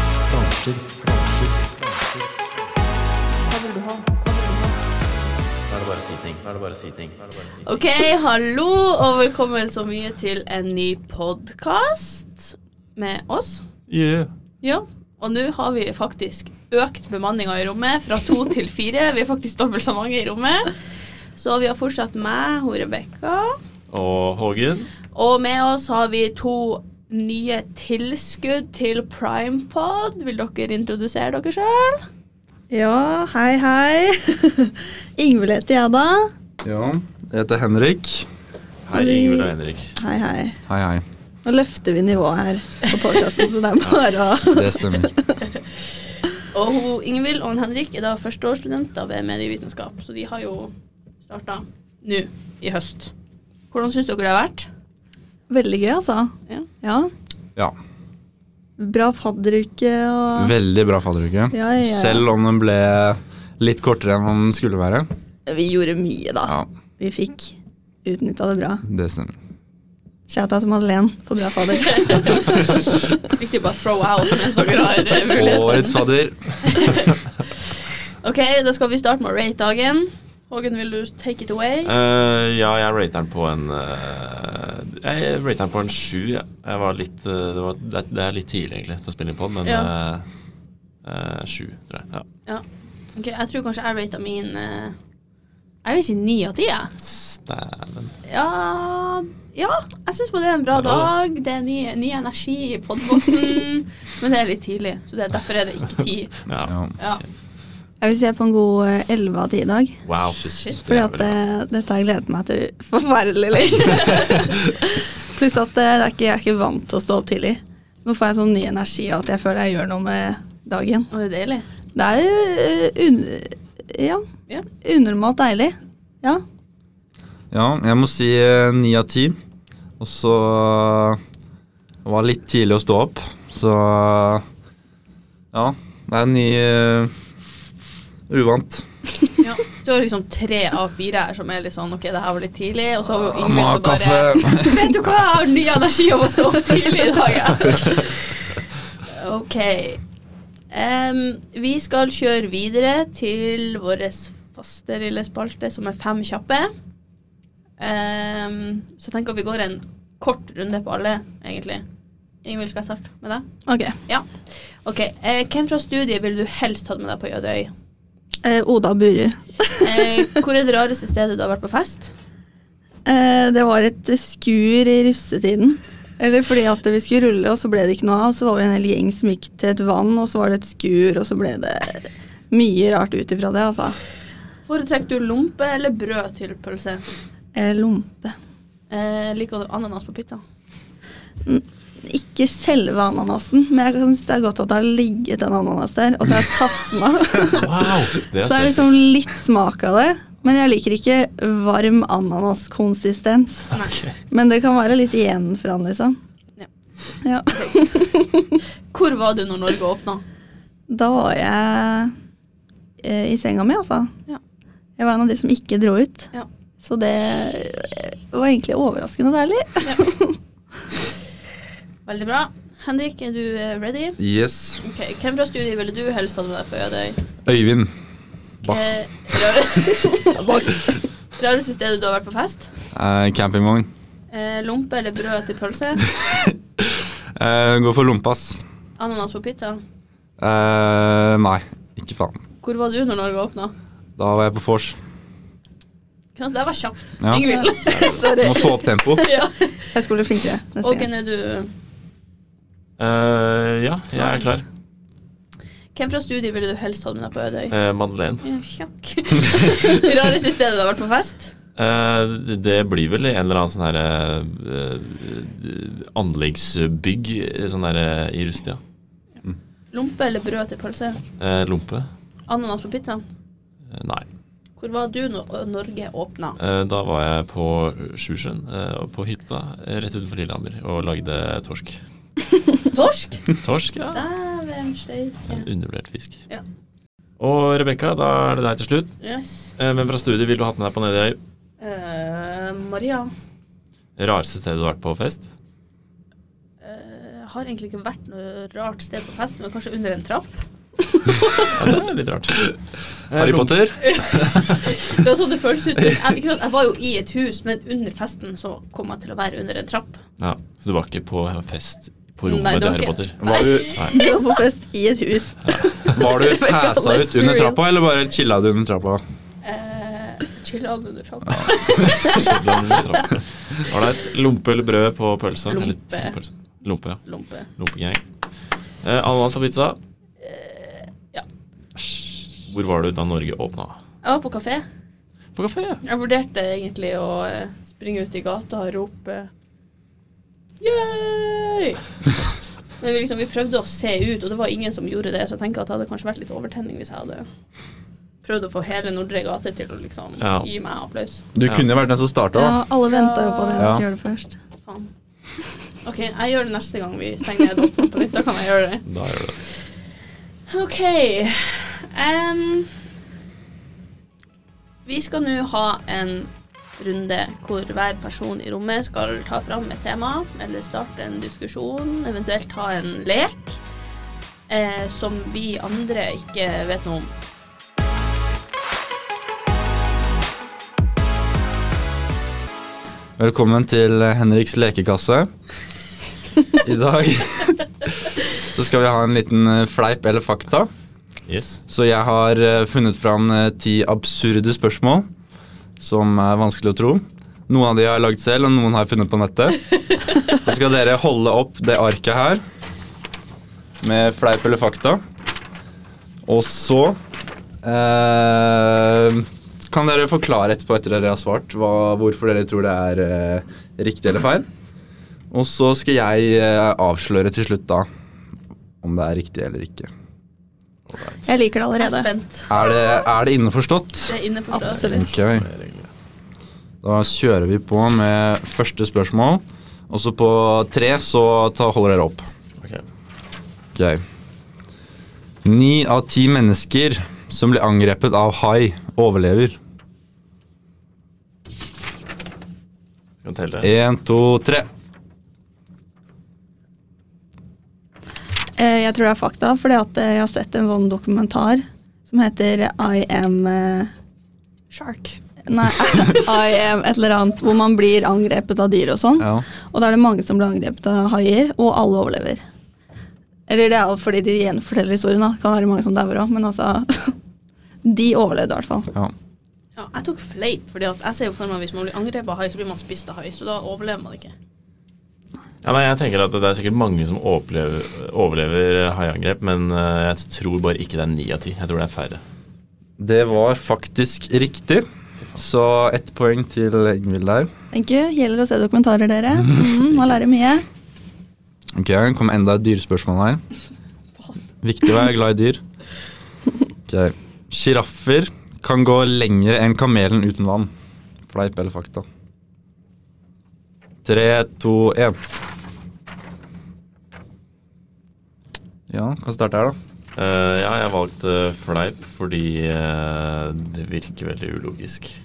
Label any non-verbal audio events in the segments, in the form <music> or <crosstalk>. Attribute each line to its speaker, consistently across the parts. Speaker 1: Flasher, flasher, flasher.
Speaker 2: Da er det bare å si ting. Da er det bare å si ting. Da er det bare å si ting.
Speaker 3: Ok, hallo, og velkommen så mye til en ny podkast med oss.
Speaker 1: Yeah.
Speaker 3: Ja. Og nå har vi faktisk økt bemanninga i rommet fra to til fire. Vi er faktisk dobbelt så mange i rommet. Så vi har fortsatt meg, hun Rebekka.
Speaker 1: Og Hågen.
Speaker 3: Og med oss har vi to nye tilskudd til Primepod. Vil dere introdusere dere sjøl?
Speaker 4: Ja, hei, hei. Ingvild heter jeg, da.
Speaker 5: Ja, jeg heter Henrik.
Speaker 1: Hei, Ingvild og Henrik.
Speaker 4: Hei, hei.
Speaker 5: Hei, hei.
Speaker 4: Nå løfter vi nivået her på podkasten, så det er bare å
Speaker 5: Det stemmer.
Speaker 3: <laughs> Og hun Ingvild og hun Henrik er da førsteårsstudenter ved medievitenskap, så de har jo starta nå i høst. Hvordan syns dere det har vært?
Speaker 4: Veldig gøy, altså.
Speaker 3: Ja.
Speaker 4: Ja.
Speaker 5: Ja,
Speaker 4: Bra fadderuke og
Speaker 5: Veldig bra fadderuke.
Speaker 4: Ja, ja.
Speaker 5: Selv om den ble litt kortere enn den skulle være.
Speaker 4: Vi gjorde mye, da.
Speaker 5: Ja,
Speaker 4: Vi fikk utnytta det bra.
Speaker 5: det stemmer.
Speaker 4: Shout-out til Madeleine for bra fadder.
Speaker 3: <laughs>
Speaker 4: <laughs>
Speaker 3: Viktig å bare throw out mens dere har eh, muligheten.
Speaker 5: Årets fadder.
Speaker 3: Ok, da skal vi starte med å rate dagen. Hågen, vil du take it away?
Speaker 2: Eh, ja, jeg rater den på en eh, Jeg rater den på en sju. Ja. Jeg var litt, eh, det, var, det, er- det er litt tidlig egentlig til å spille inn på, men
Speaker 3: Ja.
Speaker 2: eh, eh, sju, tror jeg. Ja.
Speaker 3: Ok, Jeg tror kanskje jeg rata min eh, Jeg vil si ni av ti, jeg.
Speaker 2: Stæven.
Speaker 3: Ja, ja, jeg syns det er en bra
Speaker 2: Bra, da.
Speaker 3: dag. Det er ny, ny energi i podboksen. Men det er litt tidlig, så det, derfor er det ikke ti.
Speaker 2: Ja.
Speaker 5: Ja.
Speaker 3: Ja.
Speaker 4: Jeg vil si jeg er på en god eh, elleve av ti i dag.
Speaker 2: Wow.
Speaker 3: Shit.
Speaker 2: Det er
Speaker 4: Fordi at
Speaker 2: veldig bra.
Speaker 4: eh, dette har jeg gledet meg til forferdelig lenge.
Speaker 2: <laughs>
Speaker 4: Pluss at eh, det er ikke, jeg er ikke vant til å stå opp tidlig. Så nå får jeg sånn ny energi av at jeg føler jeg gjør noe med dagen.
Speaker 3: Og det er deilig.
Speaker 4: Det er eh, un ja,
Speaker 3: Ja.
Speaker 4: unormalt deilig. Ja.
Speaker 5: ja, jeg må si eh, ni av ti. Og så det var litt tidlig å stå opp, så Ja, det er ni eh, Uvant.
Speaker 3: Ja. Så er det liksom tre av fire her som er litt sånn OK, det her var litt tidlig. Og så har vi jo
Speaker 5: Ah, Må
Speaker 3: Ingvild
Speaker 5: ha
Speaker 3: som bare <laughs> Vet du hva, jeg har ny energi av å stå opp tidlig i dag. jeg. OK. Em, vi skal kjøre videre til vår faste lille spalte, som er Fem kjappe. Em, så jeg tenker vi går en kort runde på alle, egentlig. Ingvild, skal jeg starte med deg?
Speaker 4: Ok.
Speaker 3: OK. eh, hvem fra studiet ville du helst hatt med deg på Jødøy?
Speaker 4: Eh, Oda Buru.
Speaker 3: <laughs> Eh, hvor er det rareste stedet du har vært på fest?
Speaker 4: <laughs> Eh, det var et skur i russetiden. Eller fordi at vi skulle rulle, og så ble det ikke noe av. Så var vi en hel gjeng som gikk til et vann, og så var det et skur, og så ble det mye rart ut ifra det, altså.
Speaker 3: Foretrekker du lompe eller brød til pølse?
Speaker 4: Eh, lompe.
Speaker 3: Eh, liker du ananas på pizza?
Speaker 4: Ikke selve ananasen, men jeg syns det er godt at det har ligget en ananas der, og så har jeg tatt den av.
Speaker 2: <laughs> Wow. Det er
Speaker 4: eh, Så det er
Speaker 2: spesielt.
Speaker 4: liksom litt smak av det. Men jeg liker ikke varm ananaskonsistens.
Speaker 2: Ok.
Speaker 4: Men det kan være litt igjen for han, liksom.
Speaker 3: Ja.
Speaker 4: Ja. <laughs>
Speaker 3: Hvor var du når Norge åpna?
Speaker 4: Da var jeg eh, i senga mi, altså.
Speaker 3: Ja.
Speaker 4: Jeg var en av de som ikke dro ut.
Speaker 3: Ja.
Speaker 4: Så det eh, var egentlig overraskende deilig. <laughs>
Speaker 3: Veldig bra. Henrik, er du eh, ready?
Speaker 5: Yes.
Speaker 3: Ok, Hvem fra studiet ville du helst hatt med deg på Ødøy?
Speaker 5: Øyvind. Bach.
Speaker 3: Eh, rar- <laughs> rareste stedet du har vært på fest?
Speaker 5: Eh, campingvogn.
Speaker 3: Eh, lompe eller brød til pølse?
Speaker 5: Eh, gå for lompas.
Speaker 3: Ananas på pizza?
Speaker 5: Eh, nei, ikke faen.
Speaker 3: Hvor var du når Norge åpna?
Speaker 5: Da var jeg på vors.
Speaker 3: Det der var kjapt.
Speaker 5: Ja.
Speaker 3: Ingvild.
Speaker 5: Må få opp <laughs> tempo.
Speaker 3: <laughs>
Speaker 4: Jeg skulle bli flinkere neste
Speaker 3: Hågen,
Speaker 4: gang.
Speaker 3: er du
Speaker 2: Eh, ja, jeg er klar.
Speaker 3: Hvem fra studiet ville du helst hatt med deg på Ødøy?
Speaker 2: Eh, Madeleine.
Speaker 3: Ja, sjakk. <laughs> Rareste stedet du har vært på fest?
Speaker 2: Eh, det- det blir vel en eller annen sånn her eh, eh, anleggsbygg sånn her, eh, i Rustia.
Speaker 3: Lompe eller brød til pølse?
Speaker 2: Eh, lompe.
Speaker 3: Ananas på pizza?
Speaker 2: Eh, Nei.
Speaker 3: Hvor var du når Norge åpna?
Speaker 2: Eh, Da var jeg på Sjusjøen, eh, på hytta eh, rett utenfor Lillehammer, og lagde
Speaker 3: <laughs>
Speaker 2: torsk.
Speaker 3: Torsk?
Speaker 2: Torsk, ja.
Speaker 3: Dæven
Speaker 2: En
Speaker 3: steike.
Speaker 2: undervurdert fisk.
Speaker 3: Ja.
Speaker 2: Og Rebekka, da er det deg til slutt.
Speaker 3: Yes.
Speaker 2: Eh, Hvem fra studiet ville du hatt med deg på Nedøy?
Speaker 3: Eh, Maria.
Speaker 2: Rareste stedet du har vært på fest?
Speaker 3: eh, har egentlig ikke vært noe rart sted på fest, men kanskje under en trapp.
Speaker 2: Ja, det er litt
Speaker 3: <laughs>
Speaker 2: rart. Harry Potter.
Speaker 3: Det var sånn det føltes ut. Jeg, ikke sant, jeg var jo i et hus, men under festen så kom jeg til å være under en trapp.
Speaker 2: Ja, så du var ikke på fest på
Speaker 3: Nei,
Speaker 2: rommet
Speaker 3: det
Speaker 2: til
Speaker 3: var
Speaker 2: Harry
Speaker 3: ikke-
Speaker 2: Potter?
Speaker 5: Var du,
Speaker 4: Du var på fest i et hus.
Speaker 5: var <laughs>
Speaker 4: <laughs>
Speaker 5: du pæsa ut under trappa, eller bare chilla du under <laughs> trappa?
Speaker 3: Eh, Chilla under trappa.
Speaker 2: Ah. <laughs> Ålreit. Lompe eller brød på pølsa?
Speaker 3: Lompe.
Speaker 2: Eller til pølsa. Lompe, ja.
Speaker 3: Lompe.
Speaker 2: Lompegang. Eh, ananas på pizza.
Speaker 3: Eh, ja.
Speaker 2: Hvor var du da Norge åpna?
Speaker 3: Jeg var på kafé.
Speaker 2: På kafé. ja.
Speaker 3: Jeg vurderte egentlig å eh, springe ut i gata og rope Yay! Men vi, liksom, vi prøvde å se ut, og det var ingen som gjorde det, så jeg tenker at det hadde kanskje vært litt overtenning hvis jeg hadde prøvd å få hele Nordre gate til å liksom
Speaker 2: Ja.
Speaker 3: gi meg applaus.
Speaker 5: Du kunne vært den som starta, da.
Speaker 4: Ja, alle venta jo på at jeg
Speaker 5: Ja.
Speaker 4: skulle gjøre det først.
Speaker 3: Faen. OK, jeg gjør det neste gang vi stenger doppen på nytt. Da kan jeg gjøre det.
Speaker 2: Da gjør du det.
Speaker 3: OK. em, vi skal nå ha en runde hvor hver person i rommet skal ta fram et tema, eller starte en diskusjon, eventuelt ha en lek, eh, som vi andre ikke vet noe om.
Speaker 5: Velkommen til Henriks lekekasse. I dag <laughs> så skal vi ha en liten eh, fleip eller fakta.
Speaker 2: Yes.
Speaker 5: Så jeg har eh, funnet fram eh, ti absurde spørsmål som er vanskelig å tro. Noen av de har jeg lagd selv, og noen har jeg funnet på nettet. Så skal dere holde opp det arket her med fleip eller fakta. Og så eh, kan dere forklare etterpå etter dere har svart hva, hvorfor dere tror det er eh, riktig eller feil. Og så skal jeg eh, avsløre til slutt da om det er riktig eller ikke.
Speaker 4: Jeg liker det
Speaker 3: Jeg er
Speaker 4: allerede.
Speaker 3: spent.
Speaker 5: Er det, er det innforstått?
Speaker 3: Det er innenfor
Speaker 4: Absolutt.
Speaker 5: Ok, da kjører vi på med første spørsmål. Og så på tre så ta, holder dere opp.
Speaker 2: Ok.
Speaker 5: Ok. Ni av ti mennesker som blir angrepet av hai, overlever.
Speaker 2: Kan telle.
Speaker 5: Én, to, tre.
Speaker 4: Eh, Jeg tror det er fakta, fordi at eh, jeg har sett en sånn dokumentar som heter I am eh, Shark. Nei, <laughs> I am et eller annet hvor man blir angrepet av dyr og sånn.
Speaker 5: Ja.
Speaker 4: Og da er det mange som blir angrepet av haier, og alle overlever. Eller det er jo fordi de gjenforteller historien, da. Det kan være mange som dauer òg, men altså <laughs> De overlevde i hvert fall.
Speaker 5: ja.
Speaker 3: Ja, jeg tok fleip, fordi at jeg ser jo for meg at hvis man blir angrepet av hai, så blir man spist av hai, så da overlever man ikke.
Speaker 2: Ja, nei, jeg tenker at Det er sikkert mange som overlever, overlever haiangrep, men eh, jeg tror bare ikke det er ni av ti. Jeg tror det er færre.
Speaker 5: Det var faktisk riktig. Så ett poeng til Ingvild der.
Speaker 4: Thank you. Gjelder å se dokumentarer, dere. Mm, man lærer mye.
Speaker 5: Ok, det kom enda et dyrespørsmål her. Viktig å være glad i dyr. Ok, Sjiraffer kan gå lenger enn kamelen uten vann. Fleip eller fakta? Tre, to, én. Ja, kan starte her, da.
Speaker 2: Eh, ja, jeg valgte fleip fordi eh, det virker veldig ulogisk. Eh,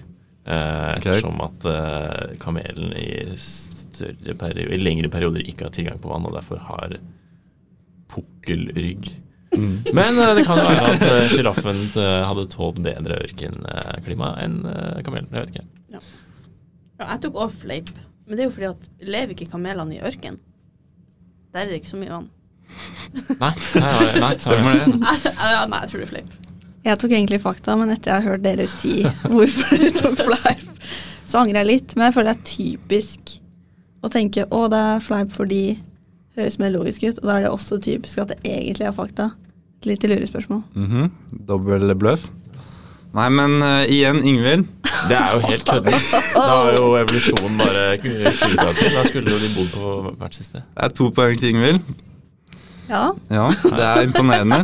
Speaker 5: Ok.
Speaker 2: Ettersom at eh, kamelen i, større perio- i lengre perioder ikke har tilgang på vann, og derfor har pukkelrygg. Men eh, det kan jo være at sjiraffen eh, hadde tålt bedre ørkenklima enn eh, kamelen. Jeg vet ikke.
Speaker 3: Ja, jeg tok også fleip, men det er jo fordi at lever ikke kamelene i ørken? Der er det ikke så mye vann.
Speaker 2: Nei, nei, nei, nei,
Speaker 5: Stemmer det?
Speaker 3: <laughs> Ja, nei, jeg tror det er fleip.
Speaker 4: Jeg tok egentlig fakta, men etter jeg har hørt dere si <laughs> hvorfor dere tok fleip, så angrer jeg litt. Men jeg føler det er typisk å tenke å, det er fleip fordi det høres mer logisk ut. Og da er det også typisk at det egentlig er fakta. Et lite lurespørsmål.
Speaker 5: Mhm, Dobbel bløff. Nei, men eh, igjen, Ingvild.
Speaker 2: Det er jo helt kødda. Da har jo evolusjonen bare kuda til. Da skulle jo de bodd på hvert sitt sted.
Speaker 5: Det er to poeng til Ingvild.
Speaker 4: Ja,
Speaker 5: Ja, det er imponerende.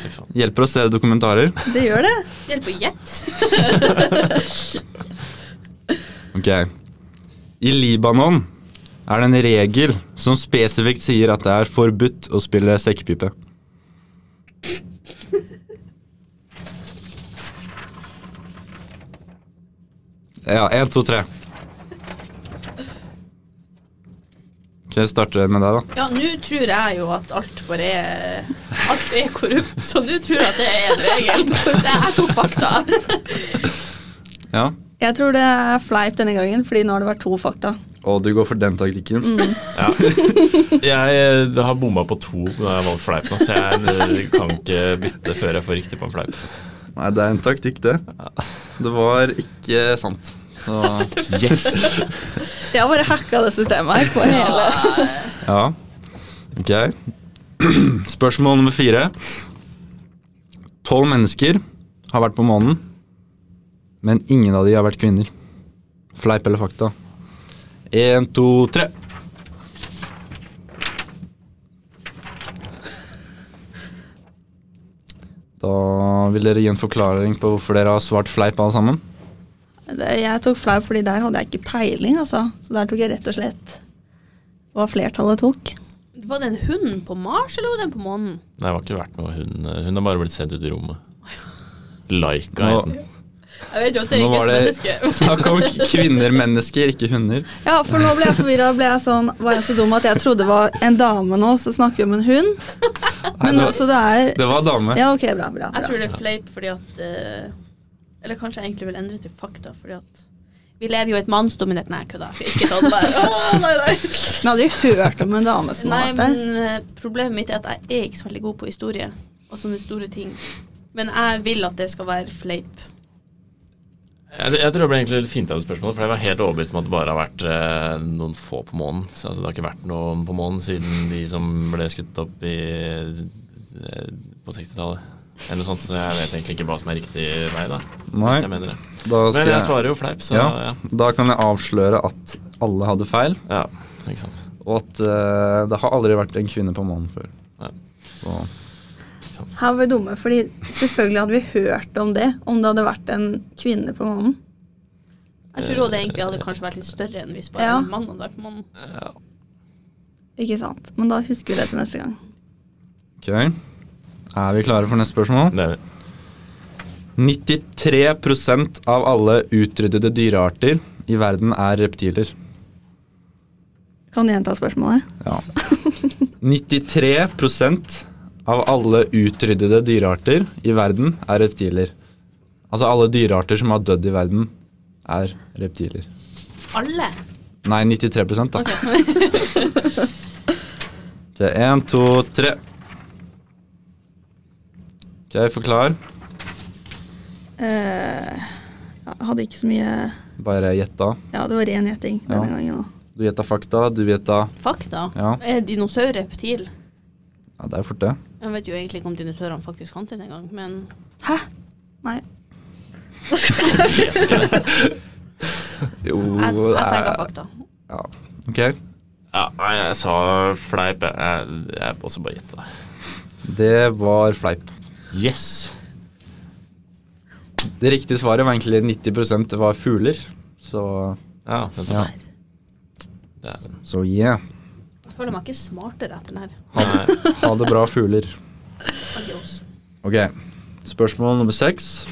Speaker 2: Fy faen.
Speaker 5: Hjelper å se dokumentarer.
Speaker 4: det gjør det.
Speaker 3: Hjelp å gjette.
Speaker 5: Ok. I Libanon er det en regel som spesifikt sier at det er forbudt å spille sekkepipe. Ja, én, to, tre. Ok. Skal jeg starte med deg, da?
Speaker 3: Ja, nå tror jeg jo at alt bare er Alt er korrupt, så nå tror jeg at det er en regel. <laughs> Det er to fakta.
Speaker 5: Ja.
Speaker 4: Jeg tror det er fleip denne gangen, fordi nå har det vært to fakta.
Speaker 5: Og du går for den taktikken?
Speaker 2: Ja. Jeg eh, har bomma på to da jeg valgte fleip nå, så jeg eh, kan ikke bytte før jeg får riktig på en fleip.
Speaker 5: Nei, det er en taktikk, det. Det var ikke sant. Så
Speaker 2: Yes!
Speaker 4: Jeg har bare hacka det systemet her. På hele.
Speaker 5: ja. Ok. <clears throat> Spørsmål nummer fire. Tolv mennesker har vært på månen, men ingen av de har vært kvinner. Fleip eller fakta? Én, to, tre. Da vil dere gi en forklaring på hvorfor dere har svart fleip alle sammen.
Speaker 4: Det, jeg tok fleip, fordi der hadde jeg ikke peiling, altså. Så der tok jeg rett og slett hva flertallet tok.
Speaker 3: Var det en hund på Mars, eller var den på månen?
Speaker 2: Nei, det har ikke vært noe hun eh, Hun har bare blitt sendt ut i rommet. Laika
Speaker 5: Nå-
Speaker 2: er den.
Speaker 3: Jeg vet jo at det
Speaker 5: Nå
Speaker 3: ikke
Speaker 5: var
Speaker 3: er
Speaker 5: det
Speaker 3: et menneske.
Speaker 5: <laughs> snakk
Speaker 3: <laughs>
Speaker 5: om kvinner, mennesker, ikke hunder.
Speaker 4: Ja, for nå ble jeg forvirra. Ble jeg sånn, var jeg så dum at jeg trodde det var en dame nå, så snakker vi om en hund? Men
Speaker 5: det var-
Speaker 3: altså-
Speaker 4: også det er
Speaker 5: Det var dame.
Speaker 4: Ja, ok, bra, bra.
Speaker 3: Jeg
Speaker 4: bra.
Speaker 3: tror det er fleip fordi at eh, Eller kanskje jeg egentlig vil endre til fakta, fordi at vi lever jo i et mannsdominert Nei, kødda. jeg skal Ikke sånn der. Å, nei, nei.
Speaker 4: Men jeg har aldri hørt om en dame som
Speaker 3: nei,
Speaker 4: har
Speaker 3: men
Speaker 4: vært der.
Speaker 3: eh, problemet mitt er at jeg er ikke så veldig god på historie og sånne store ting. Men jeg vil at det skal være fleip.
Speaker 2: Jeg, jeg tror jeg ble egentlig litt fint av det spørsmålet, for jeg var helt overbevist om at det bare har vært eh, noen få på månen. Så, Altså, det har ikke vært noen på månen siden de som ble skutt opp i, eh, på 60-tallet. Eller noe sånt, så jeg vet egentlig ikke hva som er riktig vei, da.
Speaker 5: Nei,
Speaker 2: Hvis jeg mener det.
Speaker 5: da
Speaker 2: Men
Speaker 5: skal
Speaker 2: jeg
Speaker 5: jeg
Speaker 2: svarer jo fleip, så ja.
Speaker 5: Ja, da kan jeg avsløre at alle hadde feil,
Speaker 2: ja. Ikke sant.
Speaker 5: og at eh, det har aldri vært en kvinne på månen før.
Speaker 2: Nei.
Speaker 5: Så,
Speaker 2: Ikke sant.
Speaker 4: Her var vi dumme, fordi selvfølgelig hadde vi hørt om det om det hadde vært en kvinne på månen.
Speaker 3: Jeg tror også det egentlig hadde kanskje vært litt større enn hvis bare
Speaker 4: Ja.
Speaker 3: en mann hadde vært på månen.
Speaker 2: Ja.
Speaker 4: Ikke sant? Men da husker vi det til neste gang.
Speaker 5: ok. Er vi klare for neste spørsmål?
Speaker 2: Det,
Speaker 5: 93 av alle utryddede dyrearter i verden er reptiler.
Speaker 4: Kan du gjenta spørsmålet?
Speaker 5: Ja. 93 av alle utryddede dyrearter i verden er reptiler. Altså alle dyrearter som har dødd i verden, er reptiler.
Speaker 3: Alle.
Speaker 5: Nei, 93 da.
Speaker 3: Ok.
Speaker 5: Ok, Én, to, tre. Ok, forklar.
Speaker 4: Eh, ja, hadde ikke så mye
Speaker 5: Bare gjetta.
Speaker 4: Ja, det var ren gjetting denne
Speaker 5: Ja.
Speaker 4: gangen òg.
Speaker 5: Du gjetta fakta, du gjetta
Speaker 3: Fakta.
Speaker 5: Ja.
Speaker 3: Er dinosaur reptil?
Speaker 5: Ja, det er fort, det.
Speaker 3: Jeg vet jo egentlig ikke om dinosaurene faktisk fantes engang, men
Speaker 4: Hæ? Nei.
Speaker 5: Jo,
Speaker 3: jeg, jeg
Speaker 5: det
Speaker 3: tenker
Speaker 5: er
Speaker 3: fakta.
Speaker 5: ja. Ok,
Speaker 2: ja, nei, jeg sa fleip, jeg. Jeg, jeg også bare gjetta.
Speaker 5: det var fleip.
Speaker 2: Yes!
Speaker 5: Det riktige svaret var egentlig 90 var fugler. Så
Speaker 2: Ja, det,
Speaker 5: ja.
Speaker 2: det er
Speaker 5: Så yeah.
Speaker 3: Jeg føler meg ikke smartere etter den her.
Speaker 2: Nei,
Speaker 5: Ha det bra, fugler. <laughs>
Speaker 3: Adios.
Speaker 5: Ok, spørsmål nummer seks.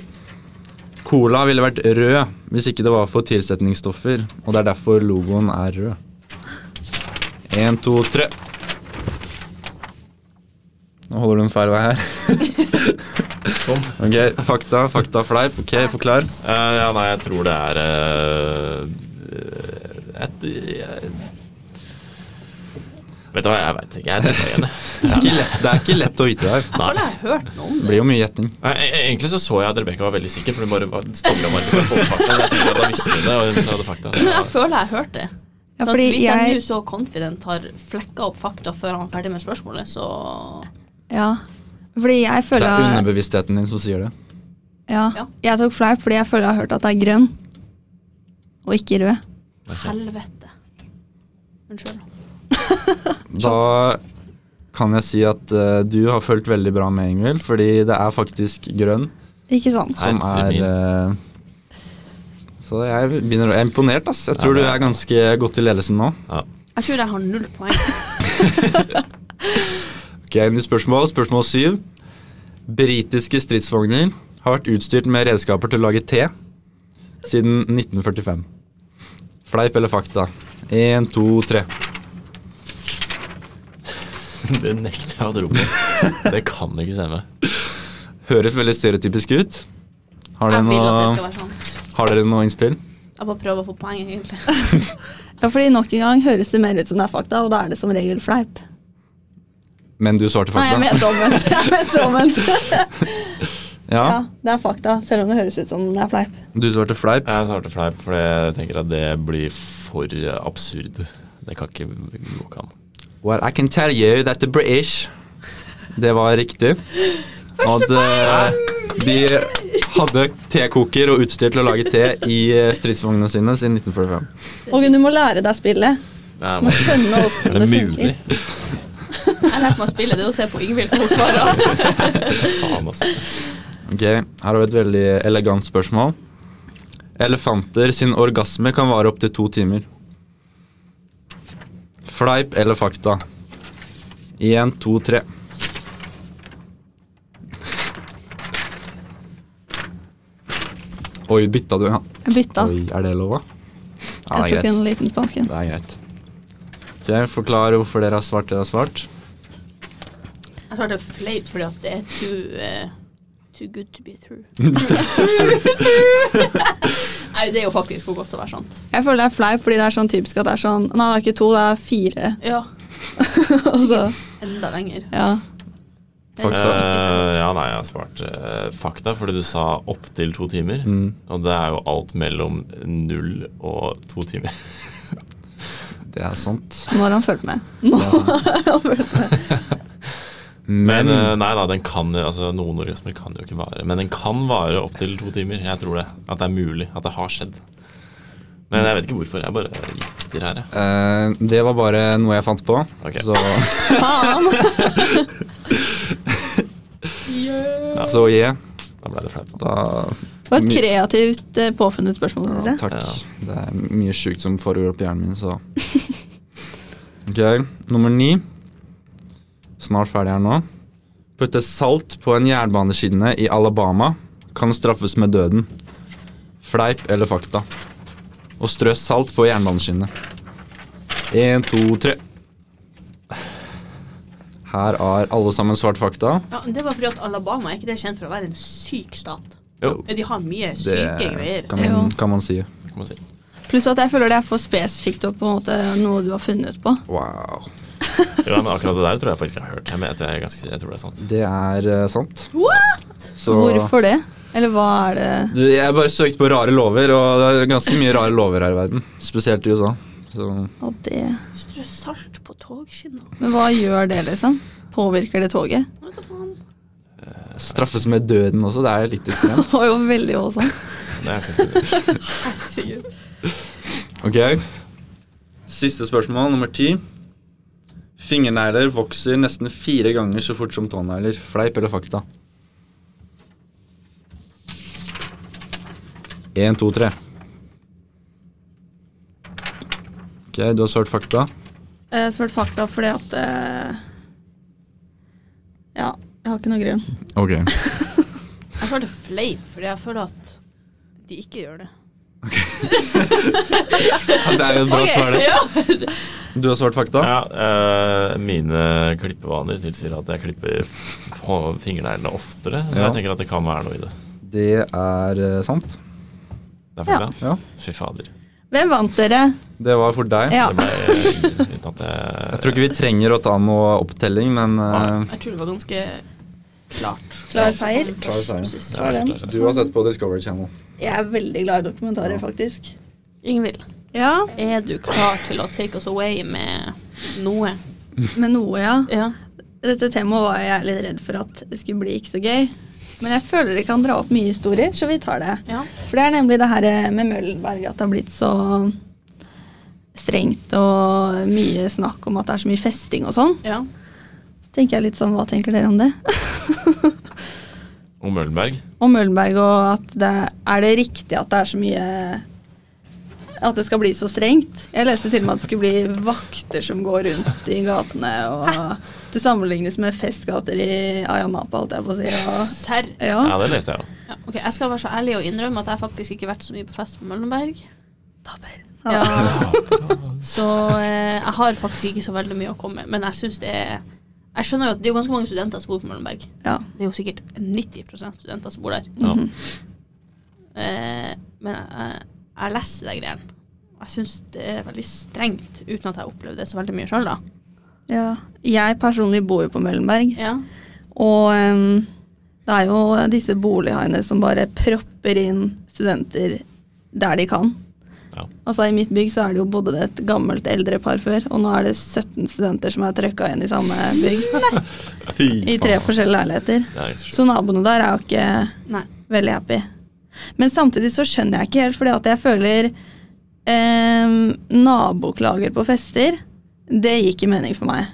Speaker 5: Cola ville vært rød hvis ikke det var for tilsetningsstoffer, og det er derfor logoen er rød. Én, to, tre. Nå holder du en feil vei her.
Speaker 2: Sånn.
Speaker 5: Ok, fakta, fakta, fleip. Ok, forklar.
Speaker 2: Eh, ja, nei, jeg tror det er eh, et, jeg, Vet du hva, jeg veit ikke. Jeg tenker <laughs> igjen, jeg.
Speaker 5: Det er ikke lett, det er ikke lett å vite det her.
Speaker 3: Jeg føler jeg har hørt noe om
Speaker 5: Det blir jo mye gjetning.
Speaker 2: Nei, e- e- Egentlig så så jeg at Rebekka var veldig sikker, for hun bare var stille og bare for å få fakta. men Jeg tenkte at da visste hun det, og hun hadde fakta.
Speaker 3: Men <laughs> jeg føler jeg har hørt det.
Speaker 4: Ja,
Speaker 3: Sånn at
Speaker 4: fordi
Speaker 3: hvis jeg nå
Speaker 4: jeg
Speaker 3: så confident har flekka opp fakta før han er ferdig med spørsmålet, så
Speaker 4: Ja. Fordi jeg
Speaker 5: Det
Speaker 4: føler
Speaker 5: er underbevisstheten din som sier det.
Speaker 4: Ja.
Speaker 3: Ja.
Speaker 4: Jeg tok fleip fordi jeg føler jeg har hørt at det er grønn, og ikke rød.
Speaker 3: Helvete. Unnskyld.
Speaker 5: Da kan jeg si at eh, du har fulgt veldig bra med, Ingvild, fordi det er faktisk grønn.
Speaker 4: Ikke sant?
Speaker 5: som er
Speaker 2: Herre min.
Speaker 5: eh, Så jeg begynner å Jeg er imponert, ass. Jeg
Speaker 2: Ja,
Speaker 5: tror du
Speaker 2: det er-
Speaker 5: er ganske godt i ledelsen nå.
Speaker 3: Jeg tror jeg har null
Speaker 4: <laughs>
Speaker 3: poeng.
Speaker 5: Ok, Nye spørsmål. Spørsmål syv. Britiske stridsvogner har vært utstyrt med redskaper til å lage te siden 1945. Fleip eller fakta? Én, to, tre.
Speaker 2: Det nekter jeg å tro på. Det kan ikke stemme.
Speaker 5: Høres veldig stereotypisk ut. Har dere,
Speaker 3: Jeg vil at det skal
Speaker 5: noe,
Speaker 3: være sant.
Speaker 5: har dere noe innspill?
Speaker 3: Jeg bare prøver å få poenget, egentlig.
Speaker 4: <laughs> Ja, fordi nok en gang høres det mer ut som det er fakta, og da er det som regel fleip.
Speaker 5: Men du svarte
Speaker 4: Nei, jeg
Speaker 5: fakta.
Speaker 4: mente omvendt. Jeg mente omvendt.
Speaker 5: <laughs> Ja,
Speaker 4: Ja, det er fakta, selv om det høres ut som det er fleip.
Speaker 5: du svarte fleip.
Speaker 2: Jeg svarte fleip, for jeg tenker at det blir for eh, absurd. Det kan ikke gå an.
Speaker 5: Well, I can tell you that the British Det var riktig. Første De hadde tekoker og utstyr til å lage te i eh, stridsvognene sine siden 1945.
Speaker 4: Og du må lære deg spillet.
Speaker 2: Nei,
Speaker 4: Du
Speaker 2: <laughs>
Speaker 4: må
Speaker 2: men
Speaker 4: skjønne
Speaker 2: er
Speaker 4: hvordan det
Speaker 2: det mulig?
Speaker 4: <laughs> funker.
Speaker 3: Jeg lærte meg å spille det og se på Ingvild når hun svarer.
Speaker 2: <laughs> Faen, altså.
Speaker 5: Ok, Her har vi et veldig elegant spørsmål. Elefanter sin orgasme kan vare opptil to timer. Fleip eller fakta? Én, to, tre. Oi, bytta du? Ja.
Speaker 4: Jeg bytta.
Speaker 5: Oi, er det lov, da? Ja, det er
Speaker 4: Jeg tok en
Speaker 5: greit.
Speaker 4: liten på hansken.
Speaker 5: Det er greit. Ok, Forklar hvorfor dere har svart dere har svart.
Speaker 3: Jeg svarte fleip fordi at det er too, eh, too good to be true. <laughs> Nei, det er jo faktisk for godt til å være sant.
Speaker 4: Jeg føler det er fleip fordi det er sånn typisk at det er sånn Nei, det er ikke to, det er fire. <laughs>
Speaker 3: Ja,
Speaker 4: Og så,
Speaker 3: enda lenger.
Speaker 4: ja.
Speaker 3: Det er
Speaker 5: Fakta.
Speaker 3: sykeste.
Speaker 2: Eh, ja, nei, jeg har svart eh, fakta, fordi du sa opptil to timer.
Speaker 5: Mm.
Speaker 2: Og det er jo alt mellom null og to timer.
Speaker 5: Det er sant.
Speaker 4: Nå har han fulgt med. Nå har han fulgt med.
Speaker 2: Men
Speaker 5: Men
Speaker 2: eh, nei da, den kan, altså, noen orgasmer kan jo ikke vare. Men den kan vare opptil to timer. Jeg tror det. At det er mulig. At det har skjedd. Men jeg vet ikke hvorfor. Jeg bare gjetter her, jeg.
Speaker 5: eh, det var bare noe jeg fant på.
Speaker 2: Ok.
Speaker 5: Så,
Speaker 4: Faen!
Speaker 5: <laughs> så yeah.
Speaker 2: Da ble det flaut. da.
Speaker 5: Da,
Speaker 4: Det var et kreativt eh, påfunnet spørsmål, synes jeg.
Speaker 5: takk.
Speaker 2: Ja.
Speaker 5: Det er mye sjukt som foregår oppi hjernen min, så <laughs> Ok, nummer ni. Snart ferdig her nå. Putte salt på en jernbaneskinne i Alabama kan straffes med døden. Fleip eller fakta? Å strø salt på jernbaneskinnet. Én, to, tre. Her har alle sammen svart fakta.
Speaker 3: Ja, det var fordi at Alabama er ikke det kjent for å være en syk stat.
Speaker 2: Jo.
Speaker 3: De har mye syke
Speaker 5: Det
Speaker 3: greier.
Speaker 5: kan
Speaker 4: Jo.
Speaker 5: man, kan man si.
Speaker 2: Kan man si.
Speaker 4: Pluss at jeg føler det er for spesifikt og på en måte noe du har funnet på.
Speaker 5: Wow.
Speaker 2: Ja, men akkurat det der tror jeg faktisk jeg har hørt. Jeg, mener, at jeg, er ganske, jeg tror det er sant.
Speaker 5: Det er eh, sant. Så,
Speaker 4: Hvorfor det? Eller hva er det
Speaker 5: Du, jeg bare søkte på rare lover, og det er ganske mye rare lover her i verden. Spesielt i USA. Så,
Speaker 4: av det?
Speaker 3: Strø salt på togskinner.
Speaker 4: Men hva gjør det, liksom? Påvirker det toget? <laughs>
Speaker 3: Hva da faen?
Speaker 5: straffes med døden også, det er litt
Speaker 4: Det <laughs>
Speaker 5: ekstremt.
Speaker 4: var jo veldig voldsomt.
Speaker 2: Det er ganske spennende.
Speaker 5: Ok. Siste spørsmål, nummer ti. Fingernegler vokser nesten fire ganger så fort som tånegler. Fleip eller fakta? Én, to, tre. Ok, du har svart fakta.
Speaker 4: Jeg svarte fakta fordi at eh, Ja, jeg har ikke noe grunn.
Speaker 5: Ok.
Speaker 3: Jeg føler det fleip, fordi jeg føler at de ikke gjør det.
Speaker 5: <laughs> Det er jo et bra
Speaker 3: <laughs>
Speaker 5: svar, det. Du har svart
Speaker 2: <laughs>
Speaker 5: fakta?
Speaker 2: Ja, eh, mine klippevaner tilsier at jeg klipper f- f- fingerneglene oftere. Men
Speaker 5: Ja.
Speaker 2: jeg tenker at det kan være noe i det.
Speaker 5: Det er eh, sant.
Speaker 2: Det er fullt,
Speaker 5: Ja.
Speaker 2: Fy fader.
Speaker 4: Hvem vant dere?
Speaker 5: Det var for deg.
Speaker 4: Ja.
Speaker 2: Det ble uten at
Speaker 5: Jeg tror ikke vi trenger å ta noe opptelling, men eh,
Speaker 3: Jeg tror det var ganske klart.
Speaker 4: Klar seier?
Speaker 5: Klar seier.
Speaker 3: Precis.
Speaker 2: Det er så klart.
Speaker 5: du har sett på Discovery Channel.
Speaker 4: Jeg er veldig glad i dokumentarer, faktisk.
Speaker 3: Ingvild,
Speaker 4: Ja,
Speaker 3: er du klar til å take us away med noe?
Speaker 4: med noe, ja.
Speaker 3: Ja.
Speaker 4: Dette temaet var jeg litt redd for at det skulle bli ikke så gøy. Men jeg føler det kan dra opp mye historier, så vi tar det.
Speaker 3: ja.
Speaker 4: For det er nemlig det her eh, med Møllenberg at det har blitt så strengt og mye snakk om at det er så mye festing og sånn.
Speaker 3: Ja.
Speaker 4: Så tenker jeg litt sånn, hva tenker dere om det? <laughs>
Speaker 2: Og Møllenberg.
Speaker 4: og Møllenberg og at det Er det riktig at det er så mye At det skal bli så strengt? Jeg leste til og med at det skulle bli vakter som går rundt i gatene, og det sammenlignes med festgater i Ayanapa, holdt jeg på å si. Og,
Speaker 3: Serr.
Speaker 4: ja.
Speaker 2: Ja, det leste jeg jo.
Speaker 3: Ja, ok, jeg skal være så ærlig og innrømme at jeg faktisk ikke har vært så mye på fest på Møllenberg.
Speaker 4: Taper.
Speaker 5: <laughs>
Speaker 3: Ja.
Speaker 4: Ja.
Speaker 3: Så eh, jeg har faktisk ikke så veldig mye å komme med, men jeg syns det er Jeg skjønner jo at det er jo ganske mange studenter som bor på Møllenberg.
Speaker 4: Ja.
Speaker 3: Det er jo sikkert 90 studenter som bor der.
Speaker 2: Ja.
Speaker 4: Mhm.
Speaker 3: Eh, men jeg, jeg, jeg leser de greiene. Jeg syns det er veldig strengt, uten at jeg har opplevd det så veldig mye sjøl, da.
Speaker 4: ja. Jeg personlig bor jo på Møllenberg,
Speaker 3: Ja.
Speaker 4: og em, det er jo disse bolighaiene som bare propper inn studenter der de kan.
Speaker 2: Ja.
Speaker 4: Altså I mitt bygg så er det jo bodde det et gammelt eldrepar før, og nå er det 17 studenter som er trøkka inn i samme bygg.
Speaker 1: Fy
Speaker 4: I tre forskjellige leiligheter.
Speaker 2: Det er ikke så sjukt.
Speaker 4: Så naboene der er jo ikke
Speaker 3: Nei.
Speaker 4: veldig happy. Men samtidig så skjønner jeg ikke helt, fordi at jeg føler ehm, naboklager på fester, det gir ikke mening for meg.